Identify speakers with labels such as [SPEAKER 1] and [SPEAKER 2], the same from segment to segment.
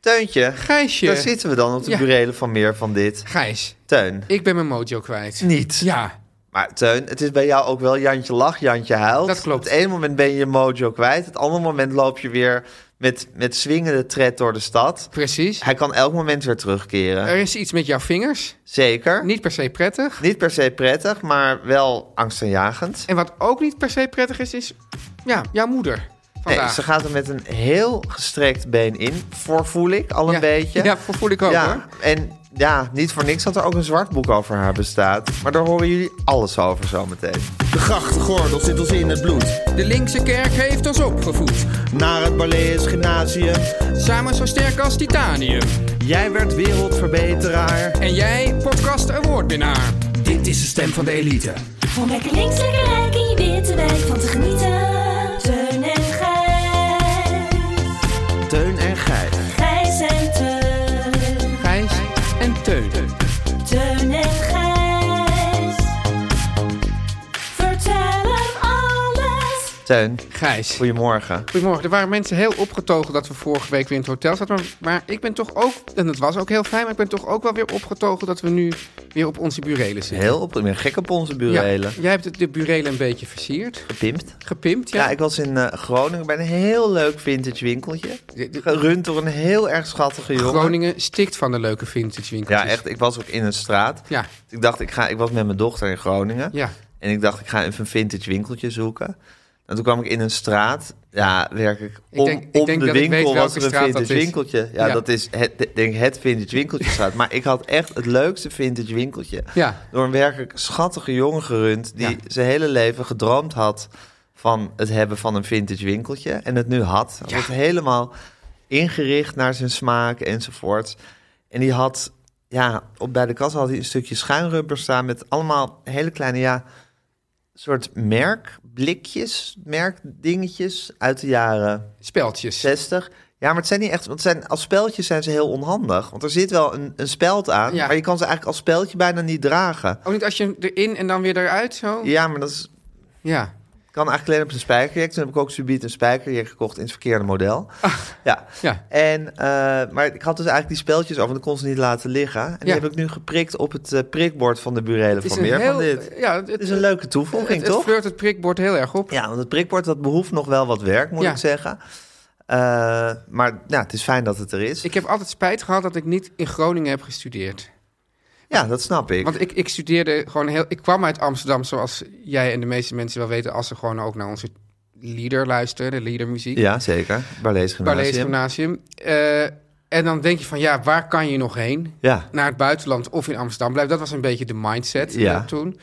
[SPEAKER 1] Teuntje,
[SPEAKER 2] Gijsje.
[SPEAKER 1] daar zitten we dan op de
[SPEAKER 2] Ja.
[SPEAKER 1] burelen van meer van dit.
[SPEAKER 2] Gijs,
[SPEAKER 1] Teun,
[SPEAKER 2] ik ben mijn mojo kwijt.
[SPEAKER 1] niet.
[SPEAKER 2] Ja,
[SPEAKER 1] Maar Teun, het is bij jou ook wel Jantje lacht, Jantje huilt.
[SPEAKER 2] Dat klopt.
[SPEAKER 1] Het ene moment ben je je mojo kwijt. Het andere moment loop je weer met, met swingende tred door de stad.
[SPEAKER 2] precies.
[SPEAKER 1] Hij kan elk moment weer terugkeren.
[SPEAKER 2] Er is iets met jouw vingers.
[SPEAKER 1] Zeker.
[SPEAKER 2] Niet per se prettig.
[SPEAKER 1] Niet per se prettig, maar wel angstaanjagend.
[SPEAKER 2] En wat ook niet per se prettig is, is ja, jouw moeder. Vandaag.
[SPEAKER 1] Nee, ze gaat er met een heel gestrekt been in. Voor voel ik al een
[SPEAKER 2] Ja.
[SPEAKER 1] beetje.
[SPEAKER 2] Ja, voor voel ik ook,
[SPEAKER 1] Ja,
[SPEAKER 2] hoor.
[SPEAKER 1] en ja, niet voor niks dat er ook een zwart boek over haar bestaat. Maar daar horen jullie alles over zometeen.
[SPEAKER 3] De grachtgordel zit ons in het bloed.
[SPEAKER 2] De linkse kerk heeft ons opgevoed.
[SPEAKER 3] Naar het Barlees Gymnasium.
[SPEAKER 2] Samen zo sterk als titanium.
[SPEAKER 3] Jij werd wereldverbeteraar.
[SPEAKER 2] En jij, podcast awardwinnaar. Dit is de stem van de elite.
[SPEAKER 4] Om lekker links, lekker rijk in je witte wijk van te genieten. Teun en Gijs.
[SPEAKER 1] Teun en Gijs.
[SPEAKER 4] Gijs en Teun.
[SPEAKER 2] Gijs en Teun.
[SPEAKER 4] Teun en Gijs. Vertel hem alles.
[SPEAKER 1] Teun,
[SPEAKER 2] Gijs.
[SPEAKER 1] goedemorgen.
[SPEAKER 2] Goedemorgen. Er waren mensen heel opgetogen dat we vorige week weer in het hotel zaten. Maar, maar ik ben toch ook, en dat was ook heel fijn, maar ik ben toch ook wel weer opgetogen dat we nu weer op onze burelen zitten.
[SPEAKER 1] Heel op, ik ben gek op onze burelen.
[SPEAKER 2] Ja, jij hebt de, de burelen een beetje versierd.
[SPEAKER 1] Gepimpt.
[SPEAKER 2] Gepimpt, ja.
[SPEAKER 1] Ja, ik was in eh, Groningen bij een heel leuk vintage winkeltje.
[SPEAKER 2] De- de-
[SPEAKER 1] Gerund door een heel erg schattige jongen.
[SPEAKER 2] Groningen stikt van de leuke vintage winkeltjes.
[SPEAKER 1] Ja, echt. Ik was ook in een straat.
[SPEAKER 2] Ja,
[SPEAKER 1] Ik dacht, ik, ga, ik was met mijn dochter in Groningen.
[SPEAKER 2] ja.
[SPEAKER 1] En ik dacht, ik ga even een vintage winkeltje zoeken. En toen kwam ik in een straat. Ja, werkelijk.
[SPEAKER 2] Ik
[SPEAKER 1] Om,
[SPEAKER 2] denk- ik
[SPEAKER 1] om
[SPEAKER 2] denk
[SPEAKER 1] de
[SPEAKER 2] dat ik weet
[SPEAKER 1] winkel was
[SPEAKER 2] welke
[SPEAKER 1] er een
[SPEAKER 2] straat
[SPEAKER 1] vintage
[SPEAKER 2] dat is.
[SPEAKER 1] winkeltje. Ja,
[SPEAKER 2] Ja.
[SPEAKER 1] dat is het, de- denk ik het vintage winkeltje straat. Maar ik had echt het leukste vintage winkeltje.
[SPEAKER 2] Ja.
[SPEAKER 1] Door een werkelijk schattige jongen gerund... die
[SPEAKER 2] Ja.
[SPEAKER 1] zijn hele leven gedroomd had van het hebben van een vintage winkeltje. En het nu had. Hij had het helemaal ingericht naar zijn smaak enzovoort. En die had, ja, op, bij de kassa had hij een stukje schuinrubber staan... met allemaal hele kleine, ja, soort merkblikjes, merkdingetjes uit de jaren
[SPEAKER 2] Speltjes.
[SPEAKER 1] 60. Ja, maar het zijn niet echt, want het zijn, als speltjes zijn ze heel onhandig. Want er zit wel een, een speld aan,
[SPEAKER 2] Ja.
[SPEAKER 1] maar je kan ze eigenlijk als speldje bijna niet dragen.
[SPEAKER 2] Ook niet als je hem erin en dan weer eruit zo?
[SPEAKER 1] Ja, maar dat is,
[SPEAKER 2] Ja.
[SPEAKER 1] kan eigenlijk alleen op een spijkerjack. Toen heb ik ook subiet een spijkerjack gekocht in het verkeerde model. Ja.
[SPEAKER 2] Ja.
[SPEAKER 1] En, eh, maar ik had dus eigenlijk die speltjes over, want ik kon ze niet laten liggen. En die
[SPEAKER 2] Ja.
[SPEAKER 1] heb ik nu geprikt op het eh, prikbord van de burelen van meer van dit.
[SPEAKER 2] Ja, het,
[SPEAKER 1] Het is een leuke toevoeging,
[SPEAKER 2] het, het
[SPEAKER 1] toch?
[SPEAKER 2] flirt het prikbord heel erg op.
[SPEAKER 1] Ja, want het prikbord dat behoeft nog wel wat werk, moet
[SPEAKER 2] Ja.
[SPEAKER 1] ik zeggen. Eh, maar ja, het is fijn dat het er is.
[SPEAKER 2] Ik heb altijd spijt gehad dat ik niet in Groningen heb gestudeerd.
[SPEAKER 1] ja, dat snap ik.
[SPEAKER 2] Want ik, ik studeerde gewoon heel... Ik kwam uit Amsterdam, zoals jij en de meeste mensen wel weten... als ze gewoon ook naar onze lieder luisteren, de liedermuziek.
[SPEAKER 1] Ja, zeker. Barlees
[SPEAKER 2] Barlees
[SPEAKER 1] Gymnasium.
[SPEAKER 2] Gymnasium. Eh, en dan denk je van, ja, waar kan je nog heen?
[SPEAKER 1] Ja.
[SPEAKER 2] Naar het buitenland of in Amsterdam blijven. Dat was een beetje de mindset
[SPEAKER 1] Ja.
[SPEAKER 2] eh, toen.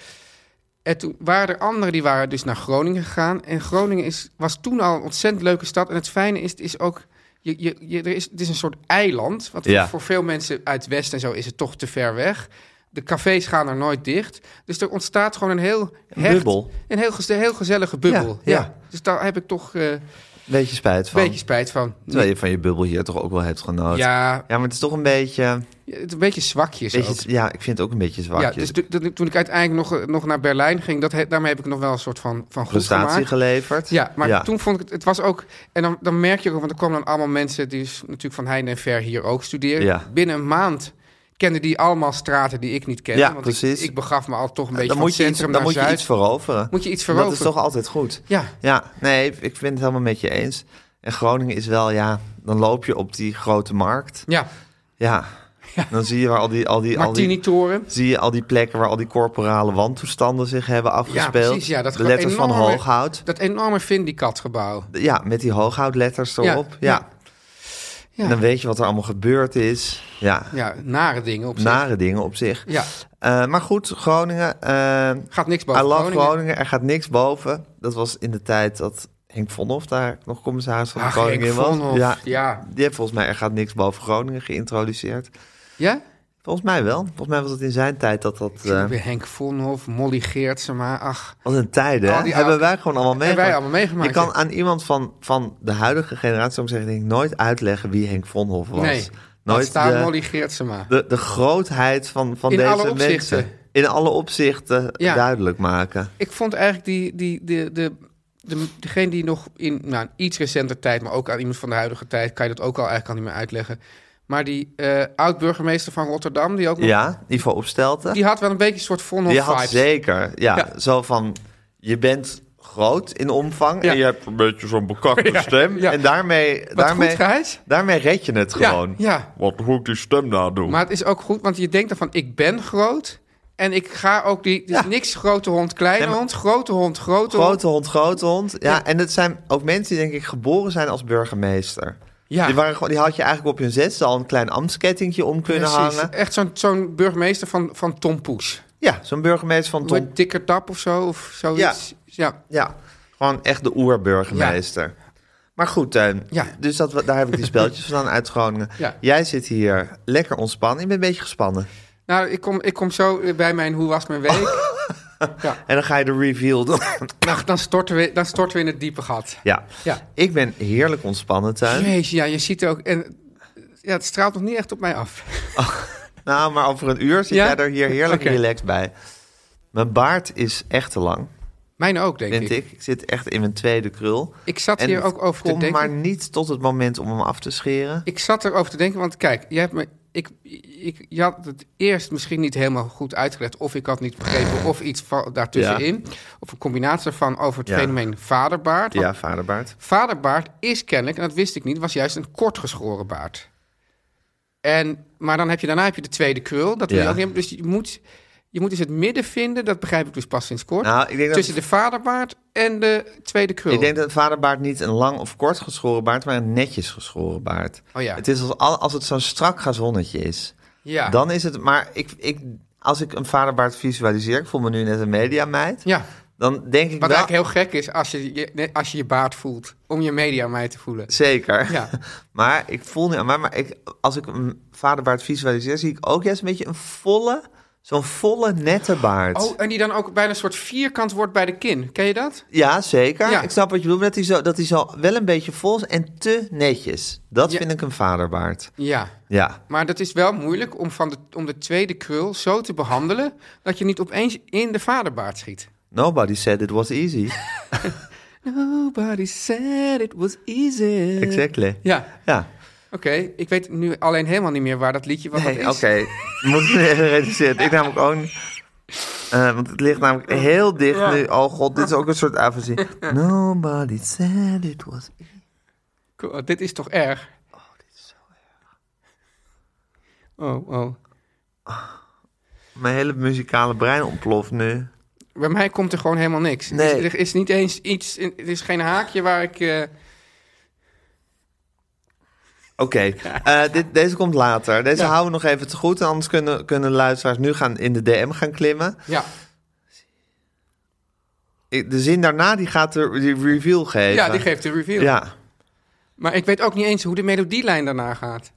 [SPEAKER 2] En toen waren er anderen die waren dus naar Groningen gegaan. En Groningen is, was toen al een ontzettend leuke stad. En het fijne is, het is ook... Je, je, je, er is, het is een soort eiland. Wat
[SPEAKER 1] Ja.
[SPEAKER 2] voor, voor veel mensen uit West en zo is het toch te ver weg. De cafés gaan er nooit dicht. Dus er ontstaat gewoon een heel... hecht-
[SPEAKER 1] bubbel.
[SPEAKER 2] Een heel, gez- heel gezellige bubbel.
[SPEAKER 1] Ja,
[SPEAKER 2] Ja,
[SPEAKER 1] ja.
[SPEAKER 2] Dus daar heb ik toch eh, een
[SPEAKER 1] Beetje spijt van.
[SPEAKER 2] beetje spijt van.
[SPEAKER 1] Terwijl je van je bubbel hier toch ook wel hebt genoten.
[SPEAKER 2] Ja,
[SPEAKER 1] Ja, maar het is toch een beetje...
[SPEAKER 2] Ja, het een beetje zwakjes ook.
[SPEAKER 1] beetje ja, ik vind het ook een beetje
[SPEAKER 2] Ja,
[SPEAKER 1] zwakjes.
[SPEAKER 2] dus de- de- toen ik uiteindelijk nog, nog naar Berlijn ging, dat, he- daarmee heb ik nog wel een soort van, van goed
[SPEAKER 1] Prestatie
[SPEAKER 2] gemaakt.
[SPEAKER 1] geleverd.
[SPEAKER 2] Ja, maar toen vond ik het, het was ook, en dan, dan merk je ook, want er kwamen dan allemaal mensen die dus natuurlijk van heinde en ver hier ook studeren.
[SPEAKER 1] Ja.
[SPEAKER 2] Binnen een maand kenden die allemaal straten die ik niet kende.
[SPEAKER 1] Ja,
[SPEAKER 2] want
[SPEAKER 1] precies.
[SPEAKER 2] Ik, ik begaf me al toch een beetje
[SPEAKER 1] dan
[SPEAKER 2] van
[SPEAKER 1] moet
[SPEAKER 2] het
[SPEAKER 1] je iets,
[SPEAKER 2] centrum
[SPEAKER 1] dan
[SPEAKER 2] naar
[SPEAKER 1] moet je
[SPEAKER 2] zuid.
[SPEAKER 1] iets veroveren.
[SPEAKER 2] Moet je iets
[SPEAKER 1] En Dat
[SPEAKER 2] veroveren.
[SPEAKER 1] is toch altijd goed.
[SPEAKER 2] Ja,
[SPEAKER 1] Ja, nee, ik vind het helemaal met je eens. En Groningen is wel, ja, dan loop je op die grote markt.
[SPEAKER 2] ja.
[SPEAKER 1] Ja, Dan zie je waar al die, al die, al die
[SPEAKER 2] Martini-toren.
[SPEAKER 1] zie je al die plekken waar al die corporale wantoestanden zich hebben afgespeeld.
[SPEAKER 2] precies, ja, dat
[SPEAKER 1] de
[SPEAKER 2] gewoon
[SPEAKER 1] letters van
[SPEAKER 2] enorme-
[SPEAKER 1] hooghout.
[SPEAKER 2] Dat enorme Vindicatgebouw.
[SPEAKER 1] Ja, met die hooghoutletters erop. Ja,
[SPEAKER 2] Ja.
[SPEAKER 1] Dan weet je wat er allemaal gebeurd is. Ja,
[SPEAKER 2] ja, nare dingen op zich.
[SPEAKER 1] nare dingen op zich.
[SPEAKER 2] Ja,
[SPEAKER 1] Eh, maar goed, Groningen. eh
[SPEAKER 2] gaat niks
[SPEAKER 1] I
[SPEAKER 2] boven
[SPEAKER 1] love
[SPEAKER 2] Groningen.
[SPEAKER 1] Groningen. Er gaat niks boven. Dat was in de tijd dat Henk Vonhoff daar nog commissaris van de
[SPEAKER 2] Ach,
[SPEAKER 1] Koningin
[SPEAKER 2] Henk
[SPEAKER 1] was.
[SPEAKER 2] Vonhoff,
[SPEAKER 1] Ja,
[SPEAKER 2] ja.
[SPEAKER 1] Die heeft volgens mij Er gaat niks boven Groningen geïntroduceerd.
[SPEAKER 2] Ja?
[SPEAKER 1] Volgens mij wel. Volgens mij was het in zijn tijd dat dat...
[SPEAKER 2] Ik zie
[SPEAKER 1] eh,
[SPEAKER 2] weer Henk Vonhoff, Molly Geertsema, ach.
[SPEAKER 1] Wat een tijden,
[SPEAKER 2] Al
[SPEAKER 1] hè?
[SPEAKER 2] die
[SPEAKER 1] Hebben
[SPEAKER 2] oude-
[SPEAKER 1] wij gewoon allemaal meegemaakt.
[SPEAKER 2] Hebben wij allemaal meegemaakt,
[SPEAKER 1] Je kan
[SPEAKER 2] ja.
[SPEAKER 1] aan iemand van, van de huidige generatie, zou ik zeggen, denk ik, nooit uitleggen wie Henk Vonhoff was.
[SPEAKER 2] Nee, Nooit
[SPEAKER 1] nooit
[SPEAKER 2] staat
[SPEAKER 1] de,
[SPEAKER 2] Molly Geertsema.
[SPEAKER 1] de, de grootheid van, van
[SPEAKER 2] In
[SPEAKER 1] deze
[SPEAKER 2] alle opzichten.
[SPEAKER 1] mensen. In alle opzichten
[SPEAKER 2] Ja.
[SPEAKER 1] duidelijk maken.
[SPEAKER 2] Ik vond eigenlijk die, die, de, de, de, degene die nog in nou, een iets recenter tijd, maar ook aan iemand van de huidige tijd, kan je dat ook al eigenlijk al niet meer uitleggen. Maar die eh, oud-burgemeester van Rotterdam, die ook nog,
[SPEAKER 1] Ja, Ivo Opstelten.
[SPEAKER 2] die had wel een beetje een soort Vonhoff
[SPEAKER 1] Je had
[SPEAKER 2] vibes.
[SPEAKER 1] zeker, ja,
[SPEAKER 2] Ja.
[SPEAKER 1] zo van, je bent groot in omvang
[SPEAKER 2] Ja.
[SPEAKER 1] en je hebt een beetje zo'n bekakte stem.
[SPEAKER 2] ja.
[SPEAKER 1] En daarmee,
[SPEAKER 2] Wat
[SPEAKER 1] daarmee,
[SPEAKER 2] goed, Gijs.
[SPEAKER 1] daarmee red je het
[SPEAKER 2] Ja,
[SPEAKER 1] gewoon.
[SPEAKER 2] ja.
[SPEAKER 1] Wat, hoe ik die stem nou doe.
[SPEAKER 2] Maar het is ook goed, want je denkt dan van ik ben groot en ik ga ook die, dus
[SPEAKER 1] Ja.
[SPEAKER 2] niks grote hond, kleine
[SPEAKER 1] Nee, maar-
[SPEAKER 2] hond, grote hond, grote, hond.
[SPEAKER 1] Grote hond, grote hond. Ja,
[SPEAKER 2] Ja.
[SPEAKER 1] en het zijn ook mensen die denk ik geboren zijn als burgemeester.
[SPEAKER 2] Ja.
[SPEAKER 1] Die, waren, gewoon- die had je eigenlijk op hun zesde al een klein ambtskettingje om kunnen
[SPEAKER 2] Precies,
[SPEAKER 1] hangen.
[SPEAKER 2] echt zo'n zo'n burgemeester van, van Tom Poes.
[SPEAKER 1] Ja, zo'n burgemeester van Tom.
[SPEAKER 2] Tom... Dikker Tap of zo, of zoiets. Ja.
[SPEAKER 1] Ja, gewoon echt de oerburgemeester. Maar goed, Teun.
[SPEAKER 2] Ja.
[SPEAKER 1] Dus dat, daar heb ik die speltjes vandaan uit Groningen.
[SPEAKER 2] Ja.
[SPEAKER 1] Jij zit hier lekker ontspannen. Ik ben een beetje gespannen.
[SPEAKER 2] Nou, ik kom, ik kom zo eh, bij mijn hoe was mijn week.
[SPEAKER 1] En dan ga je de reveal doen.
[SPEAKER 2] Nou, dan, storten we, dan storten we in het diepe gat.
[SPEAKER 1] ja.
[SPEAKER 2] Ja.
[SPEAKER 1] Ik ben heerlijk ontspannen, Teun.
[SPEAKER 2] Jezus, ja, je ziet ook... En, ja, het straalt nog niet echt op mij af.
[SPEAKER 1] Nou, maar over een uur zit
[SPEAKER 2] Ja?
[SPEAKER 1] jij er hier heerlijk
[SPEAKER 2] Oké.
[SPEAKER 1] relaxed bij. Mijn baard is echt te lang.
[SPEAKER 2] Mijn ook, denk
[SPEAKER 1] vind
[SPEAKER 2] ik.
[SPEAKER 1] ik. Ik zit echt in mijn tweede krul.
[SPEAKER 2] Ik zat
[SPEAKER 1] En
[SPEAKER 2] hier ook over te
[SPEAKER 1] kom
[SPEAKER 2] denken.
[SPEAKER 1] maar niet tot het moment om hem af te scheren.
[SPEAKER 2] Ik zat erover te denken, want kijk, jij hebt me, ik, ik, je had het eerst misschien niet helemaal goed uitgelegd... of ik had niet begrepen of iets va- daartussenin. Of een combinatie van over het
[SPEAKER 1] Ja.
[SPEAKER 2] fenomeen vaderbaard. Want
[SPEAKER 1] Ja, vaderbaard.
[SPEAKER 2] Vaderbaard is kennelijk, en dat wist ik niet, was juist een kortgeschoren baard. En, maar dan heb je, daarna heb je de tweede krul. Dat wil je
[SPEAKER 1] Ja.
[SPEAKER 2] ook niet hebben. Dus je moet, je moet dus het midden vinden, dat begrijp ik dus pas sinds kort.
[SPEAKER 1] Nou, ik denk dat-
[SPEAKER 2] tussen de vaderbaard en de tweede krul.
[SPEAKER 1] Ik denk dat vaderbaard niet een lang of kort geschoren baard, maar een netjes geschoren baard.
[SPEAKER 2] Oh ja.
[SPEAKER 1] Het is als, al- als het zo'n strak gazonnetje is.
[SPEAKER 2] ja.
[SPEAKER 1] Dan is het, maar ik, ik, als ik een vaderbaard visualiseer, ik voel me nu net een mediameid.
[SPEAKER 2] ja.
[SPEAKER 1] Dan denk ik
[SPEAKER 2] Wat
[SPEAKER 1] wel...
[SPEAKER 2] eigenlijk heel gek is als je je, nee, als je, je baard voelt. Om je media mij te voelen.
[SPEAKER 1] Zeker.
[SPEAKER 2] Ja.
[SPEAKER 1] maar ik voel nu aan mij, maar ik, als ik een vaderbaard visualiseer, zie ik ook juist een beetje een volle, zo'n volle nette baard.
[SPEAKER 2] Oh, en die dan ook bijna een soort vierkant wordt bij de kin. Ken je dat?
[SPEAKER 1] Ja, zeker.
[SPEAKER 2] Ja.
[SPEAKER 1] Ik snap wat je bedoelt. maar Dat hij, zo, dat hij zo wel een beetje vol is en te netjes. Dat
[SPEAKER 2] Ja.
[SPEAKER 1] vind ik een vaderbaard.
[SPEAKER 2] Ja.
[SPEAKER 1] Ja.
[SPEAKER 2] Maar dat is wel moeilijk om, van de, om de tweede krul zo te behandelen... dat je niet opeens in de vaderbaard schiet.
[SPEAKER 1] Nobody said it was easy.
[SPEAKER 2] Nobody said it was easy.
[SPEAKER 1] exactly.
[SPEAKER 2] Ja,
[SPEAKER 1] Ja.
[SPEAKER 2] oké. Ik weet nu alleen helemaal niet meer waar dat liedje wat dat
[SPEAKER 1] Nee,
[SPEAKER 2] is.
[SPEAKER 1] oké. Moet ik even reduceren. Ik namelijk ook... niet. Eh, want het ligt namelijk heel dicht nu. Oh god, dit is ook een soort afasie. Nobody said it was e- easy.
[SPEAKER 2] Cool, Dit is toch erg? Oh, oh.
[SPEAKER 1] Mijn hele muzikale brein ontploft nu.
[SPEAKER 2] Bij mij komt er gewoon helemaal niks.
[SPEAKER 1] Nee.
[SPEAKER 2] Er, is, er is niet eens iets... Er is geen haakje waar ik... eh,
[SPEAKER 1] Oké, eh, dit- deze komt later. Deze houden we nog even te goed. Anders kunnen, kunnen luisteraars nu gaan in de DM gaan klimmen.
[SPEAKER 2] ja.
[SPEAKER 1] Ik- De zin daarna die gaat de die reveal geven.
[SPEAKER 2] ja, die geeft de reveal.
[SPEAKER 1] Ja.
[SPEAKER 2] Maar ik weet ook niet eens hoe de melodielijn daarna gaat.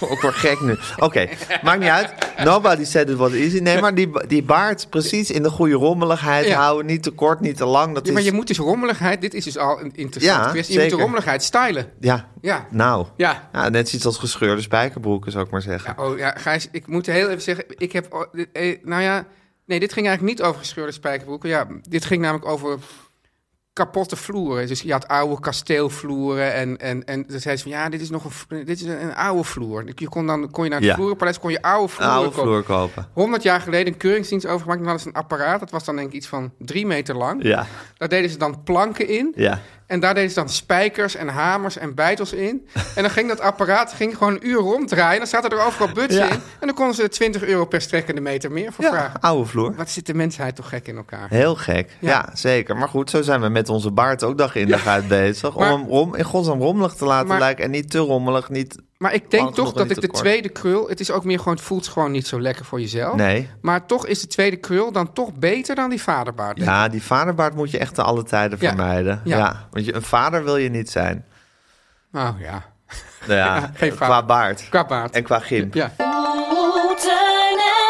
[SPEAKER 1] Ook weer gek nu. Oké, maakt niet uit. Nobody said it was easy. Nee, maar die, die baard precies in de goede rommeligheid
[SPEAKER 2] Ja.
[SPEAKER 1] houden. Niet te kort, niet te lang. Dat
[SPEAKER 2] Ja, maar
[SPEAKER 1] is...
[SPEAKER 2] je moet dus rommeligheid... Dit is dus al een interessante
[SPEAKER 1] Ja,
[SPEAKER 2] kwestie. Je moet
[SPEAKER 1] zeker.
[SPEAKER 2] de rommeligheid stylen.
[SPEAKER 1] Ja,
[SPEAKER 2] Ja.
[SPEAKER 1] nou.
[SPEAKER 2] Ja.
[SPEAKER 1] net zoiets als gescheurde spijkerbroeken, zou ik maar zeggen.
[SPEAKER 2] Ja, oh ja, Gijs, ik moet heel even zeggen, ik heb... o- dit- eh, Nou ja, nee, dit ging eigenlijk niet over gescheurde spijkerbroeken. Ja, dit ging namelijk over kapotte vloeren. Dus je had oude kasteelvloeren en, en, en dan zei ze van... Ja, dit is nog een, v- dit is een, een oude vloer. Je kon, dan, kon je naar het
[SPEAKER 1] Ja.
[SPEAKER 2] vloerenpaleis, kon je oude
[SPEAKER 1] Een
[SPEAKER 2] vloeren
[SPEAKER 1] oude
[SPEAKER 2] kopen.
[SPEAKER 1] vloer kopen.
[SPEAKER 2] 100 jaar geleden een keuringsdienst overgemaakt. Dan hadden ze een apparaat, dat was dan denk ik iets van drie meter lang.
[SPEAKER 1] Ja,
[SPEAKER 2] Daar deden ze dan planken in.
[SPEAKER 1] ja.
[SPEAKER 2] En daar deden ze dan spijkers en hamers en bijtels in. En dan ging dat apparaat ging gewoon een uur ronddraaien. Dan zaten er overal buts
[SPEAKER 1] Ja.
[SPEAKER 2] in. En dan konden ze 20 euro per strekkende meter meer voor
[SPEAKER 1] Ja,
[SPEAKER 2] vragen.
[SPEAKER 1] oude vloer.
[SPEAKER 2] Wat zit de mensheid toch gek in elkaar?
[SPEAKER 1] Heel gek. Ja.
[SPEAKER 2] Ja.
[SPEAKER 1] zeker. Maar goed, zo zijn we met onze baard ook dag in dag uit bezig.
[SPEAKER 2] Maar-
[SPEAKER 1] om hem rom, in godsnaam rommelig te laten
[SPEAKER 2] Maar-
[SPEAKER 1] lijken. En niet te rommelig, niet...
[SPEAKER 2] Maar ik denk
[SPEAKER 1] Want
[SPEAKER 2] toch
[SPEAKER 1] nog
[SPEAKER 2] dat
[SPEAKER 1] niet
[SPEAKER 2] ik de
[SPEAKER 1] te kort.
[SPEAKER 2] tweede krul... Het is ook meer gewoon, het voelt gewoon niet zo lekker voor jezelf.
[SPEAKER 1] Nee.
[SPEAKER 2] Maar toch is de tweede krul dan toch beter dan die vaderbaard. denk ik.
[SPEAKER 1] Ja, die vaderbaard moet je echt te alle tijden
[SPEAKER 2] Ja.
[SPEAKER 1] vermijden. Ja.
[SPEAKER 2] Ja.
[SPEAKER 1] Want je, een vader wil je niet zijn.
[SPEAKER 2] Nou ja,
[SPEAKER 1] Nou ja,
[SPEAKER 2] Ja, geen
[SPEAKER 1] qua
[SPEAKER 2] vader.
[SPEAKER 1] baard.
[SPEAKER 2] qua baard.
[SPEAKER 1] En qua gym.
[SPEAKER 2] Ja.
[SPEAKER 4] Oeh, Oh, Teun en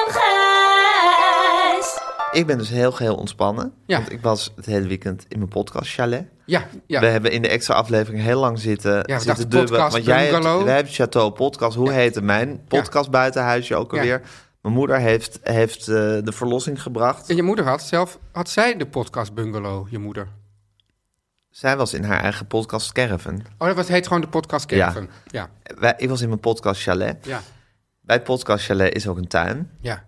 [SPEAKER 4] Gijs.
[SPEAKER 1] Ik ben dus heel geheel ontspannen.
[SPEAKER 2] Ja.
[SPEAKER 1] Want ik was het hele weekend in mijn podcast chalet.
[SPEAKER 2] Ja, ja.
[SPEAKER 1] We hebben in de extra aflevering heel lang zitten,
[SPEAKER 2] dachten
[SPEAKER 1] zitten dubben.
[SPEAKER 2] podcast
[SPEAKER 1] Want jij hebt,
[SPEAKER 2] bungalow.
[SPEAKER 1] wij hebben Chateau Podcast. Hoe heette mijn podcast buitenhuisje ook
[SPEAKER 2] Ja.
[SPEAKER 1] alweer? Mijn moeder heeft, heeft eh, de verlossing gebracht.
[SPEAKER 2] En je moeder had zelf... Had zij de podcast Bungalow, je moeder?
[SPEAKER 1] Zij was in haar eigen podcast Caravan.
[SPEAKER 2] Oh, dat was, heet gewoon de podcast Caravan. Ja.
[SPEAKER 1] Wij, ik was in mijn podcast Chalet.
[SPEAKER 2] Ja.
[SPEAKER 1] Bij podcast Chalet is ook een tuin.
[SPEAKER 2] Ja.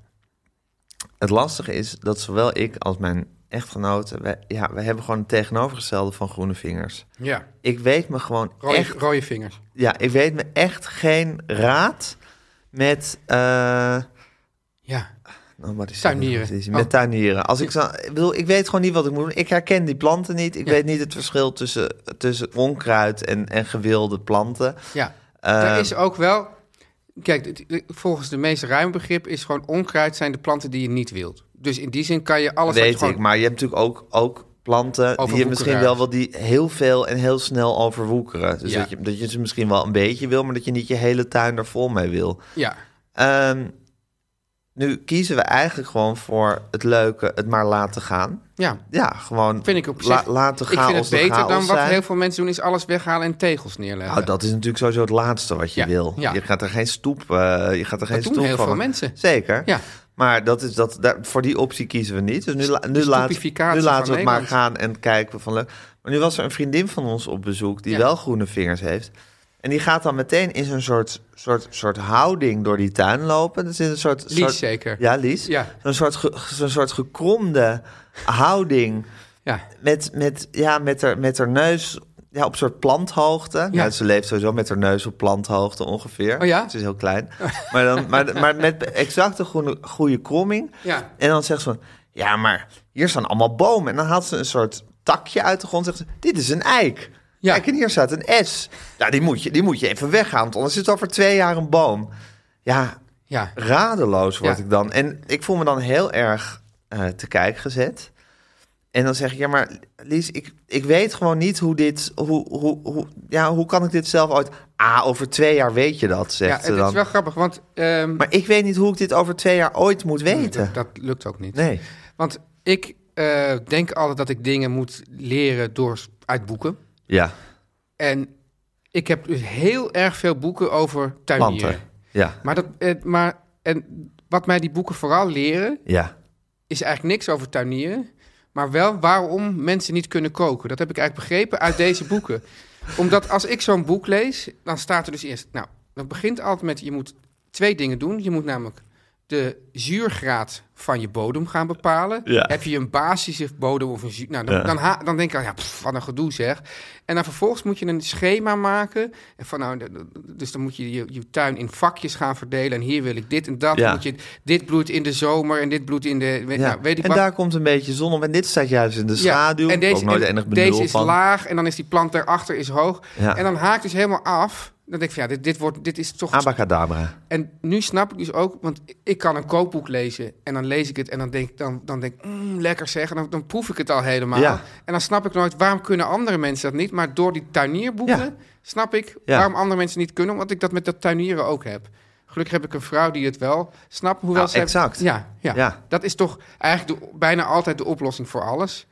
[SPEAKER 1] Het lastige is dat zowel ik als mijn echtgenoten... Wij, ja, wij hebben gewoon het tegenovergestelde van groene vingers.
[SPEAKER 2] Ja.
[SPEAKER 1] Ik weet me gewoon
[SPEAKER 2] Rode,
[SPEAKER 1] echt...
[SPEAKER 2] rode vingers.
[SPEAKER 1] Ja, ik weet me echt geen raad met... eh,
[SPEAKER 2] Ja.
[SPEAKER 1] Oh, maar die
[SPEAKER 2] Tuinieren.
[SPEAKER 1] staat niet
[SPEAKER 2] Oh.
[SPEAKER 1] Met tuinieren. Als ik, zo, ik, bedoel, ik weet gewoon niet wat ik moet doen. Ik herken die planten niet. Ik
[SPEAKER 2] Ja.
[SPEAKER 1] weet niet het verschil tussen, tussen onkruid en, en gewilde planten.
[SPEAKER 2] Ja.
[SPEAKER 1] Eh,
[SPEAKER 2] er is ook wel... Kijk, het- het- volgens de meest ruime begrip is gewoon onkruid zijn de planten die je niet wilt. Dus in die zin kan je alles wat je
[SPEAKER 1] weet
[SPEAKER 2] gewoon...
[SPEAKER 1] ik. Maar je hebt natuurlijk ook, ook planten die je
[SPEAKER 2] Overwoekeraars.
[SPEAKER 1] misschien wel wel die heel veel en heel snel overwoekeren. Dus
[SPEAKER 2] Ja.
[SPEAKER 1] dat, je, dat je ze misschien wel een beetje wil, maar dat je niet je hele tuin er vol mee wil.
[SPEAKER 2] Ja.
[SPEAKER 1] Ehm, nu kiezen we eigenlijk gewoon voor het leuke, het maar laten gaan.
[SPEAKER 2] Ja.
[SPEAKER 1] Ja, gewoon
[SPEAKER 2] Vind ik op zich...
[SPEAKER 1] la- laten
[SPEAKER 2] ik
[SPEAKER 1] gaan.
[SPEAKER 2] vind het beter dan wat
[SPEAKER 1] zijn.
[SPEAKER 2] heel veel mensen doen, is alles weghalen en tegels neerleggen.
[SPEAKER 1] Nou, dat is natuurlijk sowieso het laatste wat je
[SPEAKER 2] Ja,
[SPEAKER 1] wil.
[SPEAKER 2] ja.
[SPEAKER 1] Je gaat er geen stoep, eh, je gaat er geen
[SPEAKER 2] doen
[SPEAKER 1] stoep
[SPEAKER 2] heel
[SPEAKER 1] van.
[SPEAKER 2] veel mensen.
[SPEAKER 1] Zeker.
[SPEAKER 2] Ja.
[SPEAKER 1] Maar dat is dat, daar, voor die optie kiezen we niet. Dus nu, la- nu, laten-
[SPEAKER 2] stoepificatie
[SPEAKER 1] nu laten we
[SPEAKER 2] van
[SPEAKER 1] het maar gaan
[SPEAKER 2] Nederland.
[SPEAKER 1] en kijken van leuk. Maar nu was er een vriendin van ons op bezoek die
[SPEAKER 2] Ja.
[SPEAKER 1] wel groene vingers heeft. En die gaat dan meteen in zo'n soort, soort, soort houding door die tuin lopen. Er zit een soort,
[SPEAKER 2] Lies
[SPEAKER 1] soort-
[SPEAKER 2] zeker.
[SPEAKER 1] Ja, Lies.
[SPEAKER 2] Ja.
[SPEAKER 1] Zo'n soort, ge- zo'n soort gekromde houding
[SPEAKER 2] Ja.
[SPEAKER 1] met, met, ja, met, haar, met haar neus ja, op soort planthoogte. Ja. ze leeft sowieso met haar neus op planthoogte ongeveer.
[SPEAKER 2] Oh ja?
[SPEAKER 1] Ze is heel klein. Maar, dan, maar, maar met exact een goede, goede kromming.
[SPEAKER 2] Ja.
[SPEAKER 1] En dan zegt ze van, ja, maar hier staan allemaal bomen. En dan haalt ze een soort takje uit de grond en zegt ze, dit is een eik.
[SPEAKER 2] Ja.
[SPEAKER 1] Kijk, en hier staat een S. Nou, die moet je, die moet je even weggaan, want anders is het over twee jaar een boom. Ja,
[SPEAKER 2] Ja.
[SPEAKER 1] radeloos word
[SPEAKER 2] Ja.
[SPEAKER 1] ik dan. En ik voel me dan heel erg eh, te kijk gezet. En dan zeg ik, ja, maar Lies, ik, ik weet gewoon niet hoe dit... Hoe, hoe, hoe, ja, hoe kan ik dit zelf ooit... Ah, over twee jaar weet je dat,
[SPEAKER 2] Ja,
[SPEAKER 1] zegt ze
[SPEAKER 2] het
[SPEAKER 1] dan.
[SPEAKER 2] is wel grappig, want ehm,
[SPEAKER 1] Maar ik weet niet hoe ik dit over twee jaar ooit moet weten.
[SPEAKER 2] dat, dat lukt ook niet.
[SPEAKER 1] Nee.
[SPEAKER 2] Want ik eh, denk altijd dat ik dingen moet leren door uit boeken.
[SPEAKER 1] Ja,
[SPEAKER 2] En ik heb dus heel erg veel boeken over tuinieren.
[SPEAKER 1] planten. Ja,
[SPEAKER 2] Maar, dat, eh, maar en wat mij die boeken vooral leren,
[SPEAKER 1] ja.
[SPEAKER 2] is eigenlijk niks over tuinieren. Maar wel waarom mensen niet kunnen koken. Dat heb ik eigenlijk begrepen uit deze boeken. Omdat als ik zo'n boek lees, dan staat er dus eerst... Nou, dat begint altijd met je moet twee dingen doen. Je moet namelijk de zuurgraad van je bodem gaan bepalen.
[SPEAKER 1] Ja.
[SPEAKER 2] Heb je een basische bodem of een zuur... Nou, dan,
[SPEAKER 1] Ja.
[SPEAKER 2] dan, ha- dan denk ik al, ja, pff, wat een gedoe zeg. En dan vervolgens moet je een schema maken. En van, nou, de- de- dus dan moet je je, je tuin in vakjes gaan verdelen. En hier wil ik dit en dat.
[SPEAKER 1] Ja.
[SPEAKER 2] Dan Moet je, dit bloeit in de zomer en dit bloeit in de...
[SPEAKER 1] ja.
[SPEAKER 2] Nou, weet ik
[SPEAKER 1] en
[SPEAKER 2] wat.
[SPEAKER 1] daar komt een beetje zon op. En dit staat juist in de schaduw.
[SPEAKER 2] Ja, en deze,
[SPEAKER 1] ook nooit
[SPEAKER 2] en
[SPEAKER 1] enig benul
[SPEAKER 2] deze is
[SPEAKER 1] van.
[SPEAKER 2] laag en dan is die plant daarachter is hoog.
[SPEAKER 1] Ja.
[SPEAKER 2] En dan haakt dus helemaal af. Dan denk ik van ja, dit, dit, wordt, dit is toch...
[SPEAKER 1] Abacadabra.
[SPEAKER 2] En nu snap ik dus ook, want ik kan een kookboek lezen. En dan lees ik het en dan denk, ik- dan, dan denk ik, mm, lekker zeg. En dan, dan proef ik het al helemaal.
[SPEAKER 1] Ja.
[SPEAKER 2] En dan snap ik nooit, waarom kunnen andere mensen dat niet? Maar door die tuinierboeken
[SPEAKER 1] Ja.
[SPEAKER 2] snap ik
[SPEAKER 1] Ja.
[SPEAKER 2] waarom andere mensen niet kunnen. Omdat ik dat met dat tuinieren ook heb. Gelukkig heb ik een vrouw die het wel snapt. Hoewel
[SPEAKER 1] Ah,
[SPEAKER 2] ze
[SPEAKER 1] exact.
[SPEAKER 2] Ja, ja,
[SPEAKER 1] Ja.
[SPEAKER 2] dat is toch eigenlijk de- bijna altijd de oplossing voor alles.